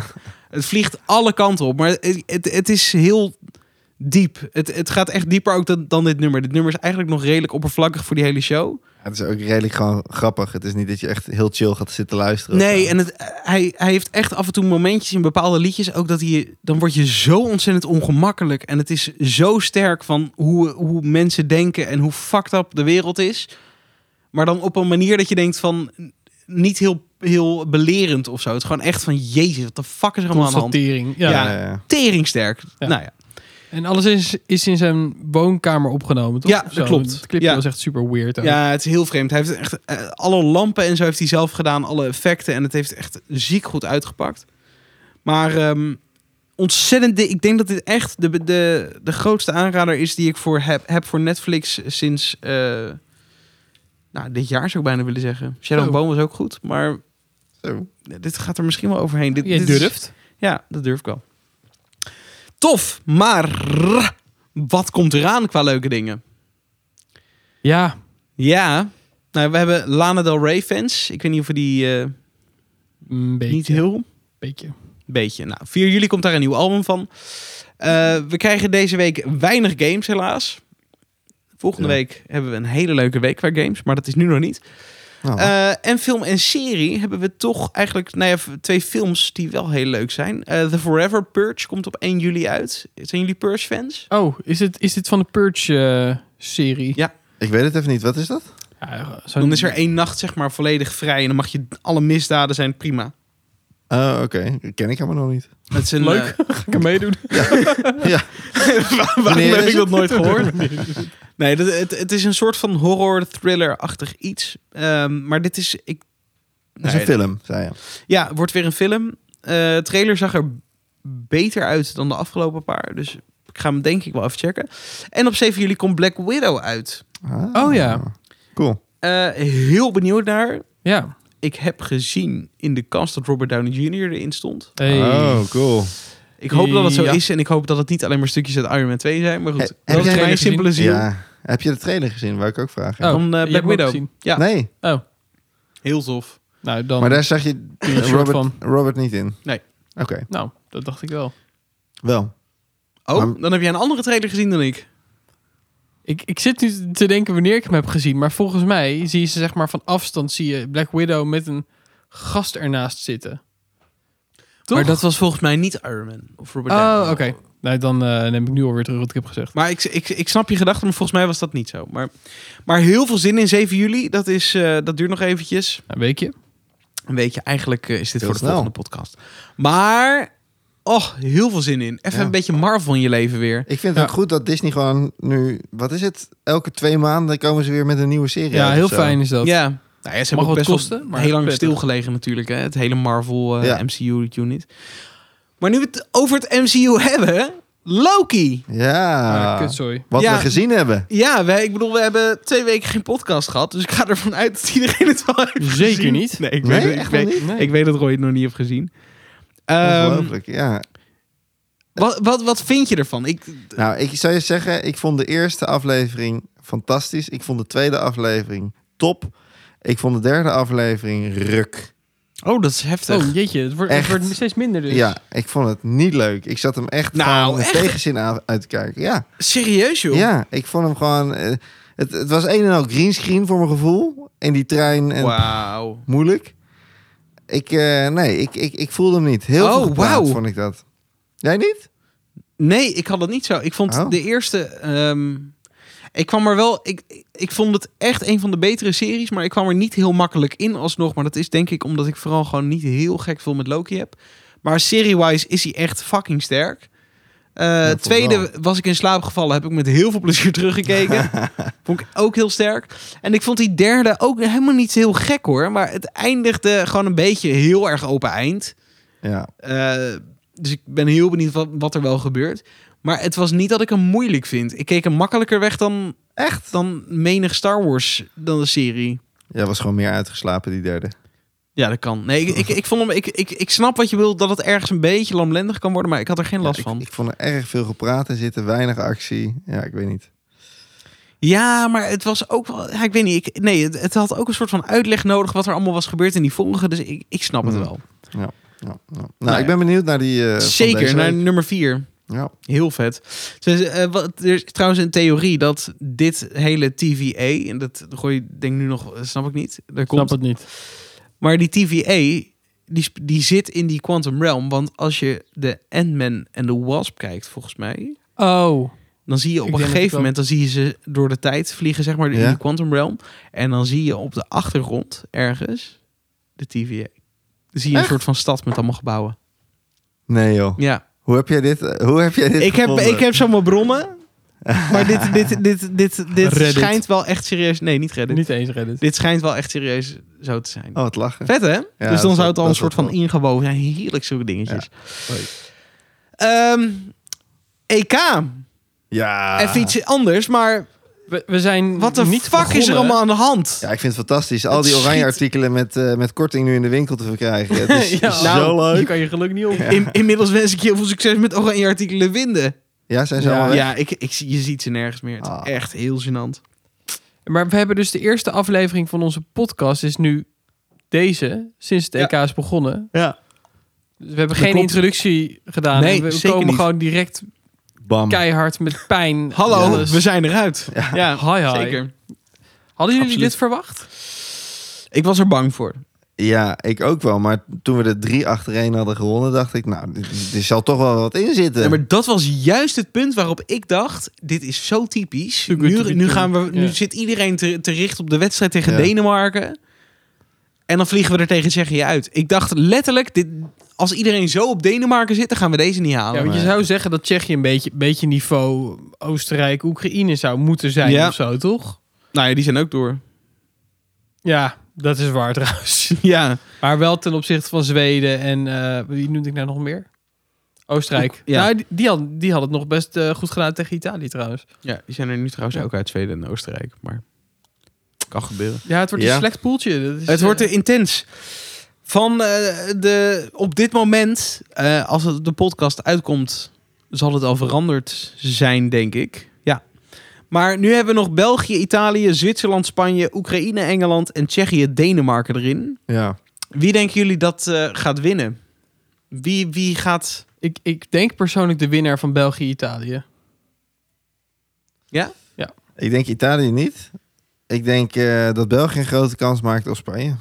Speaker 3: het vliegt alle kanten op. Maar het, het, het is heel diep. Het, het gaat echt dieper ook dan, dan dit nummer. Dit nummer is eigenlijk nog redelijk oppervlakkig voor die hele show.
Speaker 2: Het is ook redelijk gewoon grappig. Het is niet dat je echt heel chill gaat zitten luisteren. of
Speaker 3: Nee,
Speaker 2: zo.
Speaker 3: en het, hij, hij heeft echt af en toe momentjes in bepaalde liedjes ook dat hij... Dan word je zo ontzettend ongemakkelijk. En het is zo sterk van hoe, hoe mensen denken en hoe fucked up de wereld is. Maar dan op een manier dat je denkt van... Niet heel, heel belerend of zo. Het is gewoon echt van, jezus, wat de fuck is er allemaal aan de hand?
Speaker 1: Constatering. Ja.
Speaker 3: Ja.
Speaker 2: ja, ja.
Speaker 3: Teringsterk.
Speaker 1: Ja.
Speaker 3: Nou ja.
Speaker 1: En alles is, is in zijn woonkamer opgenomen, toch?
Speaker 3: Ja,
Speaker 1: Of
Speaker 3: dat klopt.
Speaker 1: Het clipje
Speaker 3: Ja.
Speaker 1: was echt super weird. ook.
Speaker 3: ja, het is heel vreemd. Hij heeft echt eh, alle lampen en zo heeft hij zelf gedaan. Alle effecten. En het heeft echt ziek goed uitgepakt. Maar ehm, ontzettend... di- Ik denk dat dit echt de, de, de grootste aanrader is die ik voor heb, heb voor Netflix sinds... eh, nou, dit jaar zou ik bijna willen zeggen. Shadow
Speaker 1: Zo.
Speaker 3: Bone was ook goed. Maar
Speaker 2: Zo.
Speaker 3: dit gaat er misschien wel overheen. Dit,
Speaker 1: Je
Speaker 3: dit is-
Speaker 1: durft.
Speaker 3: ja, dat durf ik wel. Tof, maar wat komt eraan qua leuke dingen?
Speaker 1: Ja.
Speaker 3: Ja, nou, we hebben Lana Del Rey fans. Ik weet niet of we die eh,
Speaker 1: Een beetje.
Speaker 3: niet heel
Speaker 1: Beetje.
Speaker 3: beetje. Nou, 4 juli komt daar een nieuw album van. Eh, we krijgen deze week weinig games helaas. Volgende
Speaker 2: Ja.
Speaker 3: week hebben we een hele leuke week qua games, maar dat is nu nog niet.
Speaker 2: Nou,
Speaker 3: Eh, en film en serie hebben we toch eigenlijk nou ja, v- twee films die wel heel leuk zijn. Eh, The Forever Purge komt op 1 juli uit. Zijn jullie Purge fans?
Speaker 1: Oh, is dit, is dit van de Purge-serie?
Speaker 3: Ja.
Speaker 2: ik weet het even niet. Wat is dat?
Speaker 1: ja zo'n-
Speaker 3: Dan is er één nacht zeg maar volledig vrij en dan mag je alle misdaden zijn prima.
Speaker 2: Oh, oké. Ken ik helemaal nog niet.
Speaker 3: Het is een,
Speaker 1: Leuk.
Speaker 3: eh,
Speaker 1: Ga ik er meedoen?
Speaker 3: Waarom
Speaker 2: Wanneer
Speaker 3: heb
Speaker 2: is
Speaker 3: ik dat
Speaker 2: het?
Speaker 3: nooit gehoord? nee, dat, het, het is een soort van horror-thriller-achtig iets. Ehm, maar dit is... Ik,
Speaker 2: Dat is
Speaker 3: Nee,
Speaker 2: een film, zei je.
Speaker 3: Ja, wordt weer een film. Eh trailer zag er beter uit dan de afgelopen paar. Dus ik ga hem denk ik wel even checken. En op 7 juli komt Black Widow uit.
Speaker 2: Ah,
Speaker 1: Oh, ja.
Speaker 2: Cool.
Speaker 3: Eh, heel benieuwd naar.
Speaker 1: Ja.
Speaker 3: Ik heb gezien in de kast dat Robert Downey Jr. erin stond.
Speaker 1: Hey.
Speaker 2: Oh, cool.
Speaker 3: Ik hoop dat het zo
Speaker 1: Ja.
Speaker 3: is en ik hoop dat het niet alleen maar stukjes uit Iron Man 2 zijn. Maar goed,
Speaker 2: Eh,
Speaker 3: dat
Speaker 2: heb
Speaker 3: is
Speaker 2: jij
Speaker 3: mijn
Speaker 1: het
Speaker 3: simpele ziel.
Speaker 2: Ja. Heb je de trailer gezien? Wou ik ook vragen.
Speaker 1: Oh,
Speaker 3: Van, eh,
Speaker 1: je hebt
Speaker 3: Black
Speaker 1: hem ook
Speaker 3: Widow.
Speaker 1: gezien.
Speaker 3: ja.
Speaker 2: Nee,
Speaker 1: Oh,
Speaker 3: Heel tof.
Speaker 1: nou dan.
Speaker 2: maar daar zag je
Speaker 1: je een soort
Speaker 2: Robert, Robert niet in.
Speaker 3: Nee.
Speaker 2: Oké,
Speaker 1: Nou, dat dacht ik wel.
Speaker 2: wel.
Speaker 3: Oh,
Speaker 2: Maar-
Speaker 3: dan heb jij een andere trailer gezien dan ik.
Speaker 1: Ik, ik zit nu te denken wanneer ik hem heb gezien. Maar volgens mij zie je ze zeg maar van afstand zie je Black Widow met een gast ernaast zitten. Toch?
Speaker 3: Maar dat was volgens mij niet Iron Man of Robert
Speaker 1: Oh,
Speaker 3: Downey.
Speaker 1: oké. Nou, dan eh, neem ik nu alweer terug wat ik heb gezegd.
Speaker 3: Maar ik, ik, ik snap je gedachte, maar volgens mij was dat niet zo. Maar, maar heel veel zin in 7 juli. Dat, is, eh, dat duurt nog eventjes.
Speaker 1: Nou, weet je?
Speaker 3: Een weekje, eigenlijk eh, is dit
Speaker 2: Heel
Speaker 3: voor de
Speaker 2: snel.
Speaker 3: volgende podcast. Maar, oh, heel veel zin in. Even
Speaker 2: Ja.
Speaker 3: een beetje Marvel in je leven weer.
Speaker 2: Ik vind het
Speaker 1: Ja.
Speaker 2: ook goed dat Disney gewoon nu... Wat is het? Elke twee maanden komen ze weer met een nieuwe serie
Speaker 1: Ja,
Speaker 2: uit
Speaker 1: heel
Speaker 2: of zo.
Speaker 1: fijn is dat.
Speaker 3: Ja. Nou ja,
Speaker 1: Mag
Speaker 3: ze hebben ook
Speaker 1: wat
Speaker 3: best
Speaker 1: kosten,
Speaker 3: wel
Speaker 1: maar
Speaker 3: heel lang
Speaker 1: prettig.
Speaker 3: stilgelegen natuurlijk. Hè? Het hele Marvel eh,
Speaker 2: Ja.
Speaker 3: MCU unit. Maar nu we het over het MCU hebben... Loki.
Speaker 2: Ja.
Speaker 1: Ah, kut, sorry.
Speaker 2: Wat
Speaker 3: Ja.
Speaker 2: we gezien hebben.
Speaker 3: Ja, wij, ik bedoel, we hebben twee weken geen podcast gehad. Dus ik ga ervan uit dat iedereen het wel heeft
Speaker 1: Zeker
Speaker 3: gezien.
Speaker 1: niet.
Speaker 3: Nee, ik,
Speaker 2: Nee,
Speaker 3: weet,
Speaker 2: echt
Speaker 3: ik, weet,
Speaker 2: nog niet?
Speaker 1: Nee.
Speaker 3: ik weet dat Roy het nog niet heeft gezien. Ehm,
Speaker 2: Ongelooflijk, ja.
Speaker 3: wat, wat, wat vind je ervan? Ik,
Speaker 2: Nou, ik zou je zeggen, ik vond de eerste aflevering fantastisch. Ik vond de tweede aflevering top. Ik vond de derde aflevering ruk.
Speaker 3: oh, dat is heftig.
Speaker 1: Oh, jeetje. Het wordt, het
Speaker 2: Echt.
Speaker 1: wordt steeds minder dus.
Speaker 2: Ja, ik vond het niet leuk. Ik zat hem echt
Speaker 3: Nou,
Speaker 2: gewoon met
Speaker 3: echt?
Speaker 2: tegenzin aan- uit te kijken. Ja,
Speaker 3: Serieus, joh?
Speaker 2: ja, ik vond hem gewoon... eh, het, het was een en al greenscreen voor mijn gevoel. En die trein en
Speaker 3: Wauw.
Speaker 2: moeilijk. Ik, eh, nee, ik, ik, ik voelde hem niet. Heel
Speaker 3: Oh,
Speaker 2: veel gepraat,
Speaker 3: wauw.
Speaker 2: vond ik dat. Jij niet?
Speaker 3: Nee, ik had dat niet zo. Ik vond
Speaker 2: Oh.
Speaker 3: de eerste... ehm, ik kwam er wel... Ik, ik vond het echt een van de betere series, maar ik kwam er niet heel makkelijk in alsnog. Maar dat is denk ik omdat ik vooral gewoon niet heel gek veel met Loki heb. Maar serie-wise is hij echt fucking sterk. Eh,
Speaker 2: vond
Speaker 3: tweede
Speaker 2: wel.
Speaker 3: was ik in slaap gevallen, heb ik met heel veel plezier teruggekeken. vond ik ook heel sterk. En ik vond die derde ook helemaal niet heel gek hoor. Maar het eindigde gewoon een beetje heel erg open eind.
Speaker 2: Ja.
Speaker 3: Eh, dus ik ben heel benieuwd wat, wat er wel gebeurt. Maar het was niet dat ik hem moeilijk vind. Ik keek hem makkelijker weg dan,
Speaker 2: Echt?
Speaker 3: dan menig Star Wars, dan de serie.
Speaker 2: Jij was gewoon meer uitgeslapen, die derde.
Speaker 3: Ja, dat kan. Nee, ik, ik, ik, vond hem, ik, ik, ik snap wat je wil, dat het ergens een beetje lamlendig kan worden, maar ik had er geen last
Speaker 2: Ja, ik-
Speaker 3: van.
Speaker 2: Ik, vond er erg veel gepraat in zitten, weinig actie. Ja, ik weet niet.
Speaker 3: Ja, maar het was ook wel... Ja, ik weet niet. Ik, nee, het, het had ook een soort van uitleg nodig wat er allemaal was gebeurd in die vorige. Dus ik, ik snap het
Speaker 2: Hmm.
Speaker 3: wel.
Speaker 2: Ja, ja. Nou,
Speaker 3: Nou
Speaker 2: ik
Speaker 3: ja.
Speaker 2: ben benieuwd naar die. eh, van
Speaker 3: Zeker,
Speaker 2: deze
Speaker 3: naar
Speaker 2: week.
Speaker 3: nummer vier.
Speaker 2: Ja.
Speaker 3: Heel vet. Dus, eh, wat, er is trouwens een theorie dat dit hele TVA, en dat gooi je denk nu nog, eh, snap ik niet, daar
Speaker 1: Ik snap
Speaker 3: komt.
Speaker 1: het niet.
Speaker 3: Maar die TVA, die, sp- die zit in die Quantum Realm, want als je de Ant-Man en de Wasp kijkt, volgens mij,
Speaker 1: Oh.
Speaker 3: dan zie je op
Speaker 1: Ik
Speaker 3: een
Speaker 1: denk dat
Speaker 3: gegeven
Speaker 1: ik wel-
Speaker 3: moment, dan zie je ze door de tijd vliegen, zeg maar, in
Speaker 2: Ja.
Speaker 3: die Quantum Realm. En dan zie je op de achtergrond ergens de TVA. Dan zie je een soort van stad met allemaal gebouwen.
Speaker 2: Nee, joh.
Speaker 3: Ja.
Speaker 2: Hoe heb jij dit? eh, Hoe heb jij dit?
Speaker 3: Ik heb,
Speaker 2: gevonden?
Speaker 3: ik heb zomaar bronnen. Maar dit, dit, dit, dit, dit
Speaker 1: Reddit.
Speaker 3: schijnt wel echt serieus. Nee, niet Reddit.
Speaker 1: Niet eens Reddit.
Speaker 3: Dit schijnt wel echt serieus zo te zijn.
Speaker 2: Oh, het lachen.
Speaker 3: Vet hè? dus dan
Speaker 2: dat-
Speaker 3: zou het al een
Speaker 2: dat
Speaker 3: soort
Speaker 2: wel.
Speaker 3: van ingewoven zijn. Heerlijk zulke dingetjes.
Speaker 2: Hoi. Ah.
Speaker 3: Ehm, EK.
Speaker 2: Ja.
Speaker 3: Even iets anders, maar
Speaker 1: We, we zijn
Speaker 3: wat de
Speaker 1: niet
Speaker 3: fuck is er
Speaker 1: begonnen.
Speaker 3: allemaal aan de hand?
Speaker 2: Ja, ik vind het fantastisch. Al
Speaker 3: Het
Speaker 2: die oranje
Speaker 3: schiet-
Speaker 2: artikelen met, eh, met korting nu in de winkel te verkrijgen. Het is
Speaker 1: Ja.
Speaker 2: zo
Speaker 1: Nou, Je
Speaker 2: leuk.
Speaker 1: kan je geluk niet op.
Speaker 3: In- inmiddels wens ik je heel veel succes met oranje artikelen winden.
Speaker 2: Ja, zijn ze
Speaker 1: Ja.
Speaker 2: allemaal weg?
Speaker 3: Ja, ik, ik, zie- je ziet ze nergens meer. Het is
Speaker 2: Ah.
Speaker 3: echt heel gênant.
Speaker 1: Maar we hebben dus de eerste aflevering van onze podcast is nu deze, sinds het
Speaker 3: Ja.
Speaker 1: EK is begonnen.
Speaker 3: Ja.
Speaker 1: Dus we hebben
Speaker 3: Dat
Speaker 1: geen
Speaker 3: klopt.
Speaker 1: introductie gedaan.
Speaker 3: Nee,
Speaker 1: En we
Speaker 3: zeker
Speaker 1: komen
Speaker 3: niet.
Speaker 1: gewoon direct
Speaker 2: Bam.
Speaker 1: keihard met pijn.
Speaker 3: Hallo,
Speaker 2: dus-
Speaker 1: Alles.
Speaker 3: we zijn eruit. Ja,
Speaker 1: Hi, hi.
Speaker 3: zeker.
Speaker 1: Hadden jullie
Speaker 3: Absoluut.
Speaker 1: dit verwacht?
Speaker 3: Ik was er bang voor.
Speaker 2: Ja, ik ook wel. Maar toen we de drie achtereen hadden gewonnen, dacht ik, nou, dit- er zal toch wel wat in zitten.
Speaker 3: Ja, maar dat was juist het punt waarop ik dacht: dit is zo typisch.
Speaker 1: Too good to
Speaker 3: Nu,
Speaker 1: be
Speaker 3: nu,
Speaker 1: true.
Speaker 3: gaan we, nu
Speaker 1: Ja.
Speaker 3: zit iedereen te, te richten op de wedstrijd tegen
Speaker 2: Ja.
Speaker 3: Denemarken. En dan vliegen we er tegen Tsjechië uit. Ik dacht letterlijk: dit, als iedereen zo op Denemarken zit, dan gaan we deze niet
Speaker 1: Ja,
Speaker 3: halen.
Speaker 1: want je
Speaker 2: nee.
Speaker 1: zou zeggen dat Tsjechië een beetje, beetje niveau Oostenrijk, Oekraïne zou moeten zijn
Speaker 3: Ja.
Speaker 1: of zo, toch?
Speaker 3: Nou ja, die zijn ook door.
Speaker 1: Ja, dat is waar trouwens.
Speaker 3: Ja,
Speaker 1: Maar wel ten opzichte van Zweden en eh, wie noemde ik nou nog meer? Oostenrijk.
Speaker 3: Oek- ja.
Speaker 1: Nou, die, die, had, die had het nog best eh, goed gedaan tegen Italië trouwens.
Speaker 3: ja, die zijn er nu trouwens ook uit Zweden en Oostenrijk. Maar kan gebeuren.
Speaker 1: Ja, het wordt
Speaker 2: Ja.
Speaker 1: een slecht poeltje. Dat is,
Speaker 3: Het wordt
Speaker 1: eh,
Speaker 3: eh, intens. Van eh, de, op dit moment, eh, als het de podcast uitkomt, zal het al veranderd zijn, denk ik. Ja. Maar nu hebben we nog België, Italië, Zwitserland, Spanje, Oekraïne, Engeland en Tsjechië, Denemarken erin.
Speaker 2: Ja.
Speaker 3: Wie denken jullie dat eh, gaat winnen? Wie, wie gaat.
Speaker 1: ik, ik denk persoonlijk de winnaar van België-Italië.
Speaker 3: Ja?
Speaker 2: Ik denk Italië niet. Ik denk eh, dat België een grote kans maakt op Spanje.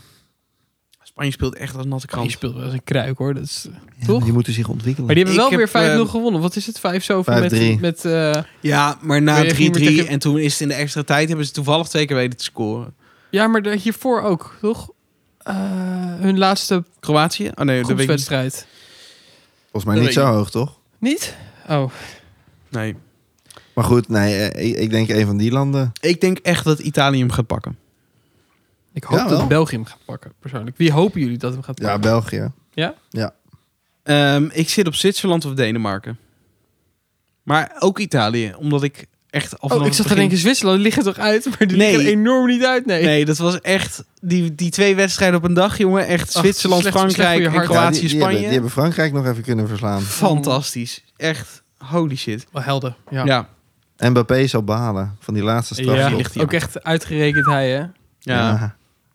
Speaker 3: Spanje speelt echt als natte
Speaker 1: Die
Speaker 3: krant.
Speaker 1: speelt wel eens een kruik hoor. Dat is, eh, toch?
Speaker 2: Die moeten zich ontwikkelen.
Speaker 1: Maar die hebben
Speaker 3: Ik
Speaker 1: wel
Speaker 3: heb,
Speaker 1: weer 5-0
Speaker 3: eh,
Speaker 1: gewonnen. Wat is het? 5 zoveel met...
Speaker 2: 5-3.
Speaker 1: met eh,
Speaker 3: Ja, maar
Speaker 1: Weet
Speaker 3: na 3-3
Speaker 1: je, ging we tegen-
Speaker 3: en toen is het in de extra tijd, hebben ze toevallig twee keer weten te scoren.
Speaker 1: ja, maar de- hiervoor ook, toch? Eh, hun laatste
Speaker 3: Kroatië? Oh nee, dat weet ik niet.
Speaker 1: groepswedstrijd.
Speaker 2: Volgens mij niet zo hoog, toch?
Speaker 1: Niet? Oh,
Speaker 3: Nee.
Speaker 2: Maar goed, nee, eh, ik, ik denk een van die landen.
Speaker 3: Ik denk echt dat Italië hem gaat pakken.
Speaker 1: ik hoop
Speaker 2: Ja, wel.
Speaker 1: dat België hem gaat pakken, persoonlijk. Wie hopen jullie dat hem gaat
Speaker 2: Ja,
Speaker 1: pakken?
Speaker 2: België.
Speaker 1: Ja?
Speaker 3: Ehm, ik zit op Zwitserland of Denemarken. Maar ook Italië, omdat ik echt al
Speaker 1: Oh,
Speaker 3: vanaf
Speaker 1: ik zag
Speaker 3: het
Speaker 1: er
Speaker 3: begin-
Speaker 1: één keer Zwitserland, die liggen toch uit? Maar die
Speaker 3: Nee.
Speaker 1: liggen enorm niet uit, nee.
Speaker 3: Nee, dat was echt die, die twee wedstrijden op een dag, jongen. Echt
Speaker 1: Ach,
Speaker 3: Zwitserland,
Speaker 1: slecht- slecht voor
Speaker 3: Frankrijk
Speaker 1: je
Speaker 3: en
Speaker 1: hart.
Speaker 2: Ja,
Speaker 3: Kroatië,
Speaker 2: die, die,
Speaker 3: Spanje.
Speaker 2: hebben, die hebben Frankrijk nog even kunnen verslaan.
Speaker 3: Fantastisch. Echt holy shit.
Speaker 1: Wel Oh, helder, ja.
Speaker 3: Ja. Ja.
Speaker 2: Mbappé zal balen van die laatste straf.
Speaker 1: Ja,
Speaker 3: die ligt hier.
Speaker 1: ook echt uitgerekend hij, hè?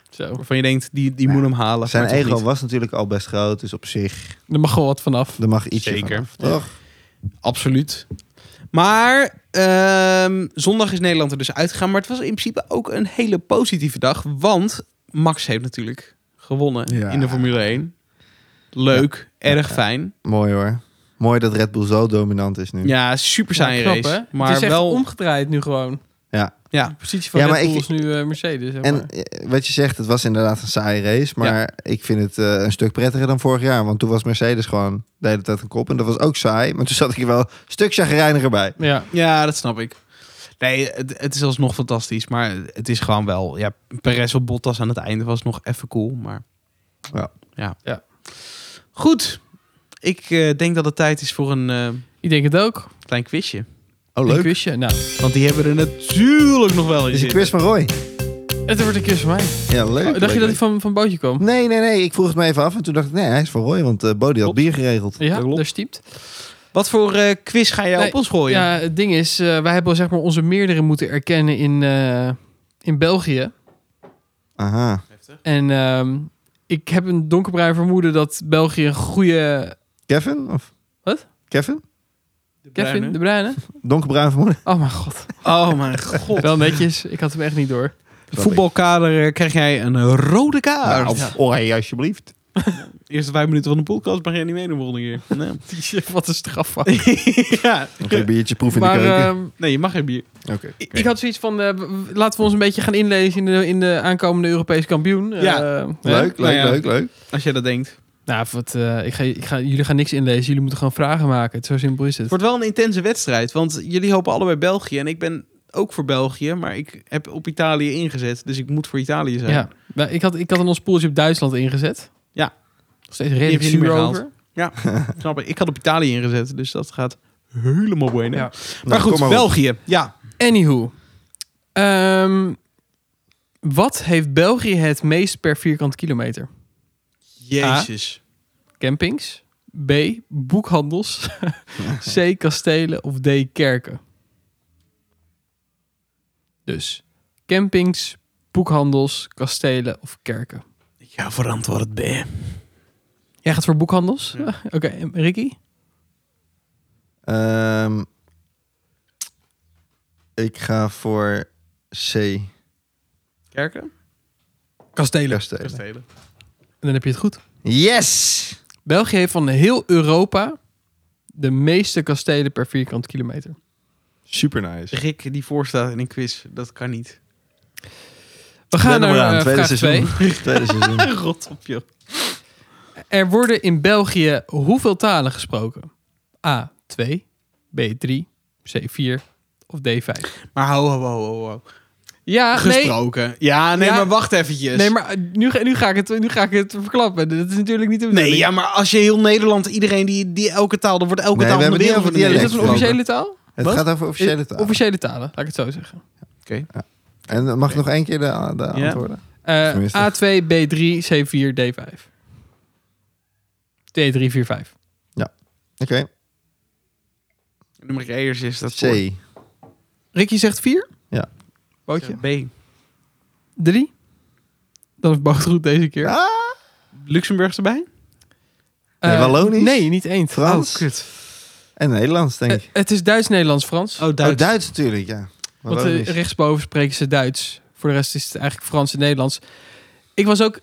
Speaker 1: Zo.
Speaker 3: Waarvan je denkt, die, die moet hem halen.
Speaker 2: Zijn
Speaker 3: maar toch
Speaker 2: ego
Speaker 3: niet.
Speaker 2: was natuurlijk al best groot, dus op zich,
Speaker 1: Er mag wel wat vanaf.
Speaker 2: er mag ietsje
Speaker 3: Zeker.
Speaker 2: vanaf, toch?
Speaker 3: Absoluut. Maar ehm, zondag is Nederland er dus uitgegaan. Maar het was in principe ook een hele positieve dag. Want Max heeft natuurlijk gewonnen
Speaker 2: Ja.
Speaker 3: in de Formule 1. Leuk, erg fijn.
Speaker 2: Mooi hoor. Mooi dat Red Bull zo dominant is nu.
Speaker 3: Ja, super
Speaker 1: Ja,
Speaker 3: saaie
Speaker 1: knap, hè?
Speaker 3: race.
Speaker 1: het
Speaker 3: Maar
Speaker 1: is echt
Speaker 3: wel
Speaker 1: omgedraaid nu gewoon.
Speaker 2: Ja.
Speaker 1: De
Speaker 3: ja,
Speaker 1: positie van
Speaker 2: Ja,
Speaker 1: Red
Speaker 2: maar ik-
Speaker 1: Bull is nu eh, Mercedes. zeg maar.
Speaker 2: En eh, wat je zegt, het was inderdaad een saaie race. Maar ik vind het eh, een stuk prettiger dan vorig jaar. Want toen was Mercedes gewoon de hele tijd een kop. En dat was ook saai. Maar toen zat ik er wel een stuk chagrijniger bij.
Speaker 1: ja.
Speaker 3: ja, dat snap ik. Nee, het, het is alsnog fantastisch. Maar het is gewoon wel... Ja, Perez op Bottas aan het einde was nog even cool. Maar
Speaker 2: Ja.
Speaker 3: ja.
Speaker 1: Ja.
Speaker 3: Goed. Ik eh, denk dat het tijd is voor een eh,
Speaker 1: Ik denk het ook.
Speaker 3: klein quizje.
Speaker 1: Een
Speaker 2: Oh, leuk. Het
Speaker 1: quizje. Nou,
Speaker 3: Want die hebben er natuurlijk nog wel in
Speaker 2: is een
Speaker 3: zitten.
Speaker 2: Dus quiz van Roy.
Speaker 1: het wordt een quiz van mij.
Speaker 2: Ja, leuk.
Speaker 1: Oh,
Speaker 2: leuk,
Speaker 1: dacht je dat hij
Speaker 2: leuk.
Speaker 1: van, van Bootje kwam?
Speaker 2: Nee, nee, nee. Ik vroeg het me even af. En toen dacht ik, nee, hij is van Roy. Want eh Bodie had
Speaker 3: Klopt.
Speaker 2: bier geregeld.
Speaker 1: Ja,
Speaker 3: Dat klopt.
Speaker 1: daar stiept.
Speaker 3: Wat voor eh, quiz ga jij
Speaker 1: Nee,
Speaker 3: op ons gooien?
Speaker 1: Ja, het ding is, eh, wij hebben zeg maar onze meerdere moeten erkennen in, eh, in België.
Speaker 2: Aha.
Speaker 1: En ehm, ik heb een donkerbruin vermoeden dat België een goede...
Speaker 2: Kevin? Of?
Speaker 1: Wat?
Speaker 2: Kevin?
Speaker 1: Kevin de Bruyne?
Speaker 2: Donkerbruin vermoeden?
Speaker 1: Oh mijn god.
Speaker 3: Oh mijn god.
Speaker 1: Wel netjes. Ik had hem echt niet door.
Speaker 3: Voetbalkader eh, krijg jij een
Speaker 1: Ah,
Speaker 3: rode kaart.
Speaker 2: Nou, Oranje alsjeblieft.
Speaker 3: Eerste vijf minuten van de podcast mag jij niet meedoen volgende keer. Nee.
Speaker 1: Wat een straf.
Speaker 3: ja.
Speaker 2: Nog een biertje proeven in
Speaker 1: Maar
Speaker 2: de keuken.
Speaker 1: ehm,
Speaker 3: Nee, je mag geen bier.
Speaker 2: Oké.
Speaker 1: ik- ik had zoiets van, eh, w- w- laten we ons een beetje gaan inlezen in de, in de aankomende Europese kampioen.
Speaker 3: Ja.
Speaker 1: Eh, hè?
Speaker 2: Leuk,
Speaker 3: Nou
Speaker 2: leuk,
Speaker 3: ja.
Speaker 2: leuk, leuk.
Speaker 3: Als jij dat denkt.
Speaker 1: Nou, wat, eh, ik ga, ik ga, jullie gaan niks inlezen. Jullie moeten gewoon vragen maken. Zo simpel is het.
Speaker 3: Het wordt wel een intense wedstrijd. Want jullie hopen allebei België. En ik ben ook voor België. Maar ik heb op Italië ingezet. Dus ik moet voor Italië zijn.
Speaker 1: Ja, maar ik had, ik had in ons pooltje op Duitsland ingezet.
Speaker 3: Ja.
Speaker 1: Nog steeds redelijk
Speaker 3: Die heb je niet
Speaker 1: zuur
Speaker 3: meer gehaald.
Speaker 1: over.
Speaker 3: Snap ik. Ik had op Italië ingezet. Dus dat gaat helemaal bueno.
Speaker 1: Ja.
Speaker 3: Maar
Speaker 2: Nou,
Speaker 3: goed,
Speaker 2: kom op.
Speaker 3: België. Ja.
Speaker 1: Anywho. Ehm, wat heeft België het meest per vierkant kilometer?
Speaker 3: Jezus.
Speaker 1: Campings. B. Boekhandels. C. Kastelen. Of D. Kerken. Dus campings, boekhandels, kastelen of kerken.
Speaker 3: Ja, verantwoord ben je.
Speaker 1: Jij gaat voor boekhandels?
Speaker 3: Ja.
Speaker 1: Oké, en Ricky?
Speaker 2: Ehm, ik ga voor C.
Speaker 3: Ah. Kerken?
Speaker 1: Kastelen.
Speaker 2: Kastelen.
Speaker 3: Kastelen.
Speaker 1: En dan heb je het goed.
Speaker 2: Yes!
Speaker 1: België heeft van heel Europa de meeste kastelen per vierkant kilometer.
Speaker 2: Super nice.
Speaker 3: Rick die voorstaat in een quiz, dat kan niet.
Speaker 1: We gaan naar eh,
Speaker 2: tweede
Speaker 1: vraag 2.
Speaker 2: seizoen. tweede seizoen.
Speaker 3: Rot op joh.
Speaker 1: Er worden in België hoeveel talen gesproken? A. 2, B. 3, C. 4 of D. 5?
Speaker 3: Maar hou, hou, hou, hou, hou.
Speaker 1: Ja, nee.
Speaker 3: Gesproken. Ah, Ja, nee,
Speaker 1: Ja.
Speaker 3: maar wacht eventjes.
Speaker 1: Nee, maar eh, nu, ga- nu, ga ik het, nu ga ik het verklappen. Dat is natuurlijk niet de
Speaker 3: Nee,
Speaker 1: bedoeling.
Speaker 3: ja, maar als je heel Nederland, iedereen die, die elke taal, dan wordt elke
Speaker 2: Nee,
Speaker 3: taal
Speaker 2: we
Speaker 3: van de
Speaker 2: hebben
Speaker 3: wereld wordt
Speaker 2: het niet
Speaker 3: een
Speaker 1: Is
Speaker 2: over
Speaker 1: dat
Speaker 3: Nederlands
Speaker 1: een
Speaker 2: dialect
Speaker 3: gesproken.
Speaker 1: officiële taal?
Speaker 2: Het
Speaker 1: Wat? Eh,
Speaker 2: gaat over officiële taal.
Speaker 1: Officiële talen, laat ik het zo zeggen.
Speaker 2: En mag ik nog één keer de, de
Speaker 3: Ja.
Speaker 2: antwoorden?
Speaker 1: Eh,
Speaker 2: Tenminste.
Speaker 1: A2, B3, C4, D5. D3, 4, 5.
Speaker 2: Oké.
Speaker 3: Nummer eerst is dat voor-
Speaker 2: C.
Speaker 1: Ricky zegt 4.
Speaker 2: Ja.
Speaker 1: Bootje.
Speaker 3: B.
Speaker 1: 3. Dan is Boot goed deze keer.
Speaker 2: Ah,
Speaker 3: Luxemburg erbij?
Speaker 1: Eh,
Speaker 2: Nee, Wallonisch?
Speaker 1: Nee, niet eens.
Speaker 2: Frans.
Speaker 1: Oh, kut.
Speaker 2: en Nederlands, denk
Speaker 1: Eh,
Speaker 2: ik.
Speaker 1: het is Duits, Nederlands, Frans.
Speaker 3: Oh,
Speaker 2: Duits.
Speaker 3: Duits.
Speaker 2: Oh, Duits natuurlijk, ja. Maar
Speaker 1: want eh,
Speaker 2: waarom niet?
Speaker 1: rechtsboven spreken ze Duits. Voor de rest is het eigenlijk Frans en Nederlands. Ik was ook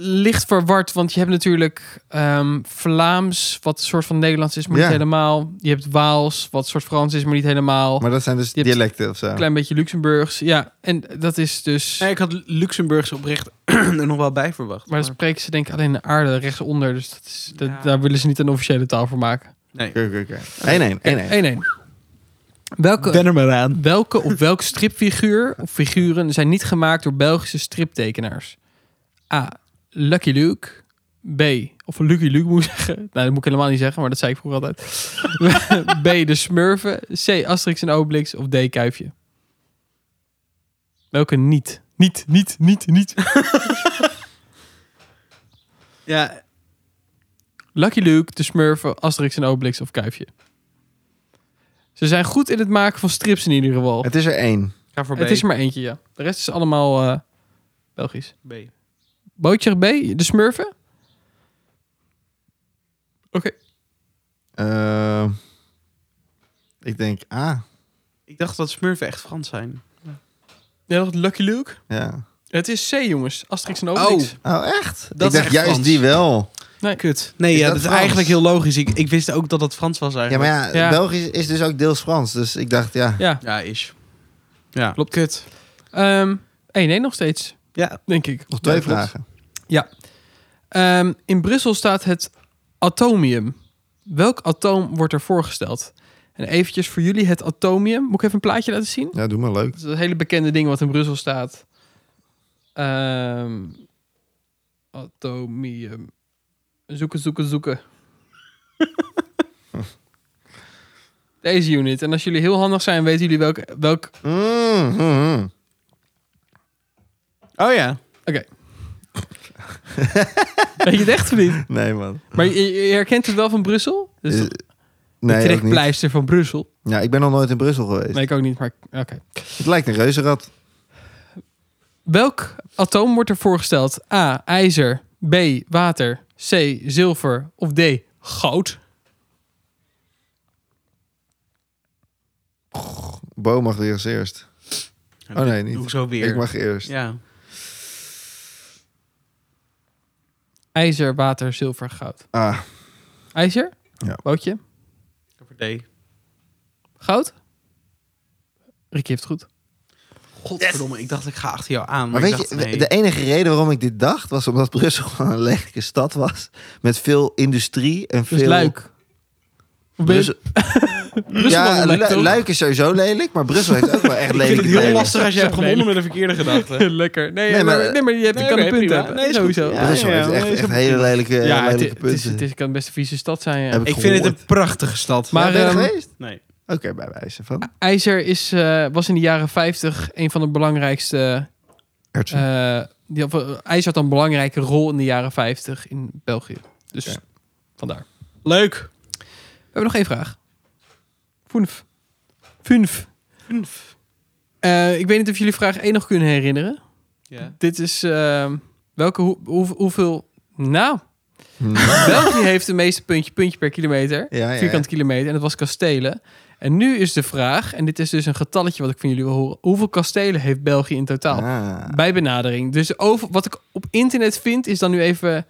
Speaker 1: licht verward, want je hebt natuurlijk ehm, Vlaams, wat een soort van Nederlands is, maar
Speaker 2: Ja.
Speaker 1: niet helemaal. Je hebt Waals, wat een soort Frans is, maar niet helemaal.
Speaker 2: maar dat zijn dus
Speaker 1: je hebt-
Speaker 2: dialecten of zo.
Speaker 1: Klein beetje Luxemburgs. Ja, en dat is dus...
Speaker 3: Nee, ik had Luxemburgs oprecht er nog wel bij verwacht.
Speaker 1: Maar dan spreken ze denk ik alleen de aarde rechtsonder. Dus dat is, dat-
Speaker 3: Ja.
Speaker 1: daar willen ze niet een officiële taal voor maken.
Speaker 3: nee.
Speaker 2: Oké, oké, oké. 1-1,
Speaker 1: 1-1.
Speaker 2: 1-1.
Speaker 1: Welke,
Speaker 3: Ben er maar aan.
Speaker 1: welke of welk stripfiguur of figuren zijn niet gemaakt door Belgische striptekenaars? A. Lucky Luke. B, of Lucky Luke moet ik zeggen. Nou, dat moet ik helemaal niet zeggen, maar dat zei ik vroeger altijd. B, de Smurfen. C, Asterix en Obelix. Of D, Kuifje. Welke niet? Niet, niet, niet, niet.
Speaker 3: Ja,
Speaker 1: Lucky Luke, de Smurfen, Asterix en Obelix of Kuifje. Ze zijn goed in het maken van strips in ieder geval. Het,
Speaker 2: Het is er één.
Speaker 3: ga voor B.
Speaker 1: is er maar eentje, ja. De rest is allemaal eh, Belgisch.
Speaker 3: B.
Speaker 1: Bootje B, de Smurfen? Oké.
Speaker 2: Eh, ik denk A.
Speaker 3: Ik dacht dat smurfen echt Frans zijn.
Speaker 1: Jij dacht Lucky Luke?
Speaker 2: ja.
Speaker 1: Het is C, jongens. Asterix en Obelix.
Speaker 2: Oh, echt?
Speaker 3: Dat
Speaker 2: ik
Speaker 3: is
Speaker 2: dacht
Speaker 3: echt
Speaker 2: juist
Speaker 3: Frans.
Speaker 2: die wel.
Speaker 1: Nee.
Speaker 3: Kut. Nee,
Speaker 2: Is
Speaker 3: ja,
Speaker 2: dat
Speaker 3: dat is
Speaker 2: Frans?
Speaker 3: eigenlijk heel logisch. Ik, ik wist ook dat dat Frans was
Speaker 2: Ja, maar
Speaker 3: eigenlijk.
Speaker 2: ja,
Speaker 1: Ja.
Speaker 2: Belgisch is dus ook deels Frans. Dus ik dacht, ja.
Speaker 1: Ja,
Speaker 3: ja, is. Ja.
Speaker 1: Klopt. Kut. Ehm 1-1 nog steeds,
Speaker 3: Ja.
Speaker 1: denk ik.
Speaker 2: Nog twee
Speaker 1: Ja, klopt.
Speaker 2: vragen.
Speaker 1: Ehm, in Brussel staat het atomium. Welk atoom wordt er voorgesteld? En eventjes voor jullie het atomium. Moet ik even een plaatje laten zien?
Speaker 2: Ja, doe maar leuk.
Speaker 1: Dat is een hele bekende ding wat in Brussel staat. Ehm, atomium. Zoeken, zoeken, zoeken. Deze unit. En als jullie heel handig zijn, weten jullie welk... welk...
Speaker 2: Mm, mm, mm.
Speaker 3: Oh ja.
Speaker 1: Weet je het echt of niet?
Speaker 2: Nee, man.
Speaker 1: Maar je, je herkent het wel van Brussel? Dus
Speaker 2: Eh,
Speaker 1: de
Speaker 2: Nee, ook niet.
Speaker 1: trekpleister van Brussel.
Speaker 2: Ja, ik ben nog nooit in Brussel geweest.
Speaker 1: Nee, ik ook niet, maar oké.
Speaker 2: Het lijkt een reuzenrad.
Speaker 1: Welk atoom wordt er voorgesteld? A. IJzer. B. Water. C. Zilver. Of D. Goud.
Speaker 2: Bo mag weer als eerst. Oh nee, niet.
Speaker 3: Doe ik zo weer.
Speaker 2: Ik mag eerst.
Speaker 3: Ja.
Speaker 1: IJzer, water, zilver, goud.
Speaker 2: Ah,
Speaker 1: IJzer?
Speaker 2: Ja.
Speaker 1: Bootje?
Speaker 3: Ik ga voor D.
Speaker 1: Goud? Ricky heeft het goed.
Speaker 3: Godverdomme, ik dacht ik ga achter jou aan.
Speaker 2: maar
Speaker 3: ik
Speaker 2: weet
Speaker 3: dacht,
Speaker 2: je,
Speaker 3: nee.
Speaker 2: de enige reden waarom ik dit dacht was omdat Brussel gewoon een lelijke stad was. Met veel industrie en
Speaker 1: Dus
Speaker 2: veel.
Speaker 1: Luik. Of ben je-
Speaker 2: Brussel- ja,
Speaker 1: wel leuk,
Speaker 2: Lu-
Speaker 1: toch?
Speaker 2: Luik is sowieso lelijk, maar Brussel heeft ook wel echt
Speaker 3: ik vind
Speaker 2: lelijke
Speaker 3: het heel
Speaker 2: delen.
Speaker 3: lastig als je hebt
Speaker 1: Nee.
Speaker 3: gewonnen met een verkeerde gedachte.
Speaker 1: Lekker. Nee,
Speaker 2: Nee,
Speaker 1: maar,
Speaker 2: maar-
Speaker 1: nee, maar je, hebt, je
Speaker 3: Nee,
Speaker 1: kan
Speaker 3: oké,
Speaker 1: een punt
Speaker 3: prima.
Speaker 1: hebben.
Speaker 3: Nee, is goed.
Speaker 1: sowieso.
Speaker 3: Ja,
Speaker 2: Brussel
Speaker 3: ja,
Speaker 2: heeft
Speaker 3: ja,
Speaker 2: echt,
Speaker 3: is
Speaker 2: echt
Speaker 3: een-
Speaker 2: hele lelijke,
Speaker 1: Ja, het,
Speaker 2: lelijke
Speaker 1: het is,
Speaker 2: punten.
Speaker 1: het is, kan best een vieze stad zijn. ja.
Speaker 2: Heb
Speaker 3: Ik vind het een prachtige stad.
Speaker 1: Maar,
Speaker 2: maar, ben je er
Speaker 1: ehm,
Speaker 2: geweest?
Speaker 3: nee.
Speaker 2: Oké, bij wijze van.
Speaker 1: IJzer is, eh, was in de jaren 50 een van de belangrijkste.
Speaker 2: Ertsen.
Speaker 1: eh, die, had- IJzer had een belangrijke rol in de jaren 50 in België. Dus
Speaker 2: Ja.
Speaker 1: vandaar.
Speaker 3: Leuk.
Speaker 1: We hebben nog één vraag. Funf. Funf. Eh, ik weet niet of jullie vraag 1 nog kunnen herinneren.
Speaker 3: Ja.
Speaker 1: Dit is eh, welke, hoe, hoe- hoeveel. Nou,
Speaker 2: Hmm.
Speaker 1: België heeft de meeste puntje, puntje per kilometer.
Speaker 2: Ja, ja, ja.
Speaker 1: vierkante kilometer. En dat was kastelen. En nu is de vraag, en dit is dus een getalletje wat ik van jullie wil horen. Hoeveel kastelen heeft België in totaal?
Speaker 2: Ah,
Speaker 1: Bij benadering. Dus over, wat ik op internet vind, is dan nu even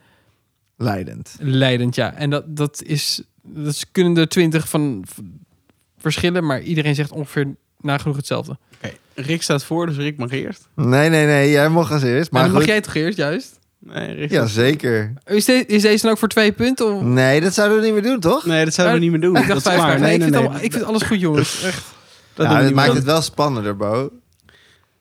Speaker 2: leidend.
Speaker 1: leidend, ja. En dat, dat is... Dat is- kunnen er twintig van v- verschillen, maar iedereen zegt ongeveer nagenoeg hetzelfde.
Speaker 3: Oké. Rick staat voor, dus Rick mag eerst.
Speaker 2: Nee, nee, nee. Jij mag als eerst.
Speaker 1: Maar
Speaker 2: Maar
Speaker 1: dan mag
Speaker 2: goed.
Speaker 1: jij toch eerst, juist?
Speaker 3: Nee, Rick
Speaker 2: Ja,
Speaker 3: staat-
Speaker 2: zeker.
Speaker 1: Is, de- is deze dan ook voor twee punten? Of?
Speaker 2: Nee, dat zouden we niet meer doen, toch?
Speaker 3: Nee, dat zouden we niet meer doen.
Speaker 1: Ik dacht
Speaker 3: dat is
Speaker 1: vijf
Speaker 3: waar.
Speaker 1: vragen. Nee,
Speaker 3: Nee,
Speaker 1: ik, vind
Speaker 3: nee, nee.
Speaker 1: allemaal- ik vind alles goed, jongens. Echt.
Speaker 3: Dat
Speaker 2: ja,
Speaker 3: doen we
Speaker 2: dat
Speaker 3: niet
Speaker 2: maakt
Speaker 3: meer.
Speaker 2: het wel spannender, Bo.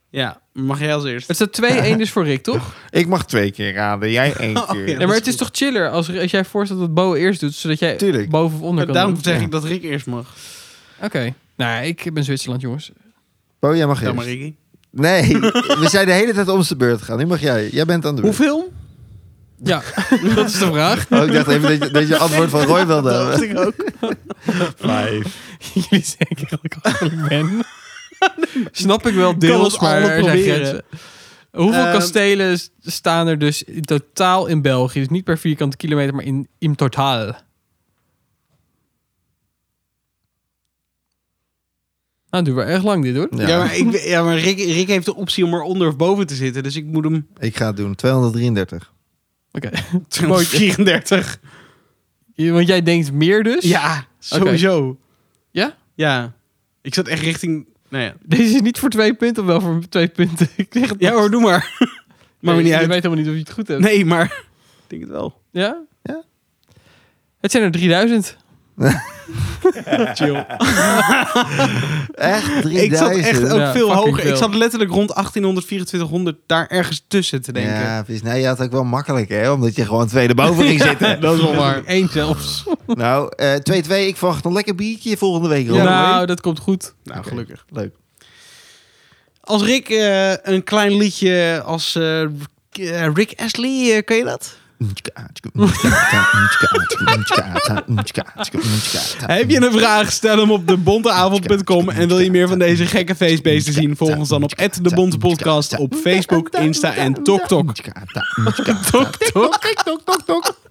Speaker 3: Ja, mag jij als eerst.
Speaker 1: Het staat 2-1 dus voor Rick, toch?
Speaker 2: Ik mag twee keer raden, jij één
Speaker 3: Oh,
Speaker 2: keer.
Speaker 3: ja.
Speaker 1: Nee, maar het is toch chiller als, als jij voorstelt dat Bo eerst doet, zodat jij
Speaker 2: Tuurlijk.
Speaker 1: boven of onder
Speaker 3: Maar
Speaker 1: kan
Speaker 3: daarom
Speaker 1: doen.
Speaker 3: zeg ik dat Rick eerst mag.
Speaker 1: Oké. Nou, ja, ik ben Zwitserland, jongens.
Speaker 2: Bo, jij mag
Speaker 3: Ja,
Speaker 2: eerst.
Speaker 3: maar Ricky.
Speaker 2: Nee, we zijn de hele tijd om zijn beurt gaan. Nu mag jij. Jij bent aan de beurt.
Speaker 3: Hoeveel?
Speaker 1: Ja, dat is de vraag.
Speaker 2: Oh, ik dacht even dat je, dat je antwoord van Roy wilde hebben.
Speaker 3: ik ook.
Speaker 2: Vijf.
Speaker 1: Jullie denken dat ik achterlijk ben. Snap ik wel
Speaker 3: Kan
Speaker 1: deels,
Speaker 3: ons
Speaker 1: maar
Speaker 3: allemaal
Speaker 1: er zijn
Speaker 3: proberen.
Speaker 1: grenzen. Hoeveel
Speaker 3: Ehm,
Speaker 1: kastelen s- staan er dus in totaal in België? Dus niet per vierkante kilometer, maar in, in totaal. Nou, doen we erg lang dit, hoor.
Speaker 2: Ja,
Speaker 3: Ja, maar, ik, ja, maar Rick, Rick heeft de optie om er onder of boven te zitten. Dus ik moet hem...
Speaker 2: Ik ga het doen. 233.
Speaker 1: Oké.
Speaker 3: 34.
Speaker 1: Je- Want jij denkt meer dus?
Speaker 3: Ja, sowieso.
Speaker 1: Ja?
Speaker 3: Ja. Ik zat echt richting... Nou ja.
Speaker 1: Deze is niet voor twee punten, of wel voor twee punten. Ik zeg het
Speaker 3: ja hoor, doe maar. maar
Speaker 1: Nee,
Speaker 3: me niet
Speaker 1: Je
Speaker 3: uit.
Speaker 1: weet helemaal niet of je het goed hebt.
Speaker 3: Nee, maar... Ik denk het wel.
Speaker 1: Ja?
Speaker 2: Ja.
Speaker 1: Het zijn er 3000. Chill.
Speaker 2: Echt
Speaker 3: Ik zat
Speaker 2: 3000.
Speaker 3: echt ook
Speaker 1: Ja,
Speaker 3: veel
Speaker 1: fucking
Speaker 3: hoger. Ik
Speaker 1: veel.
Speaker 3: zat letterlijk rond 1800, 2400 daar ergens tussen te denken.
Speaker 2: Ja, precies. Nee, je had ook wel makkelijk, hè? Omdat je gewoon tweede boven ging zitten.
Speaker 1: Dat is wel waar. Eén zelfs.
Speaker 2: Nou, eh, 2-2. ik verwacht een lekker biertje volgende week. Ron.
Speaker 1: nou, dat komt goed.
Speaker 3: Nou,
Speaker 2: Oké.
Speaker 3: gelukkig.
Speaker 2: Leuk.
Speaker 3: Als Rick eh, een klein liedje als eh, eh, Rick Astley, eh, kan je dat? Heb je een vraag? Stel hem op debonteavond.com. En wil je meer van deze gekke feestbeesten zien? Volg ons dan op de Bonte Podcast op Facebook, Insta en TokTok.
Speaker 2: Tok, tok, tok, tok, tok.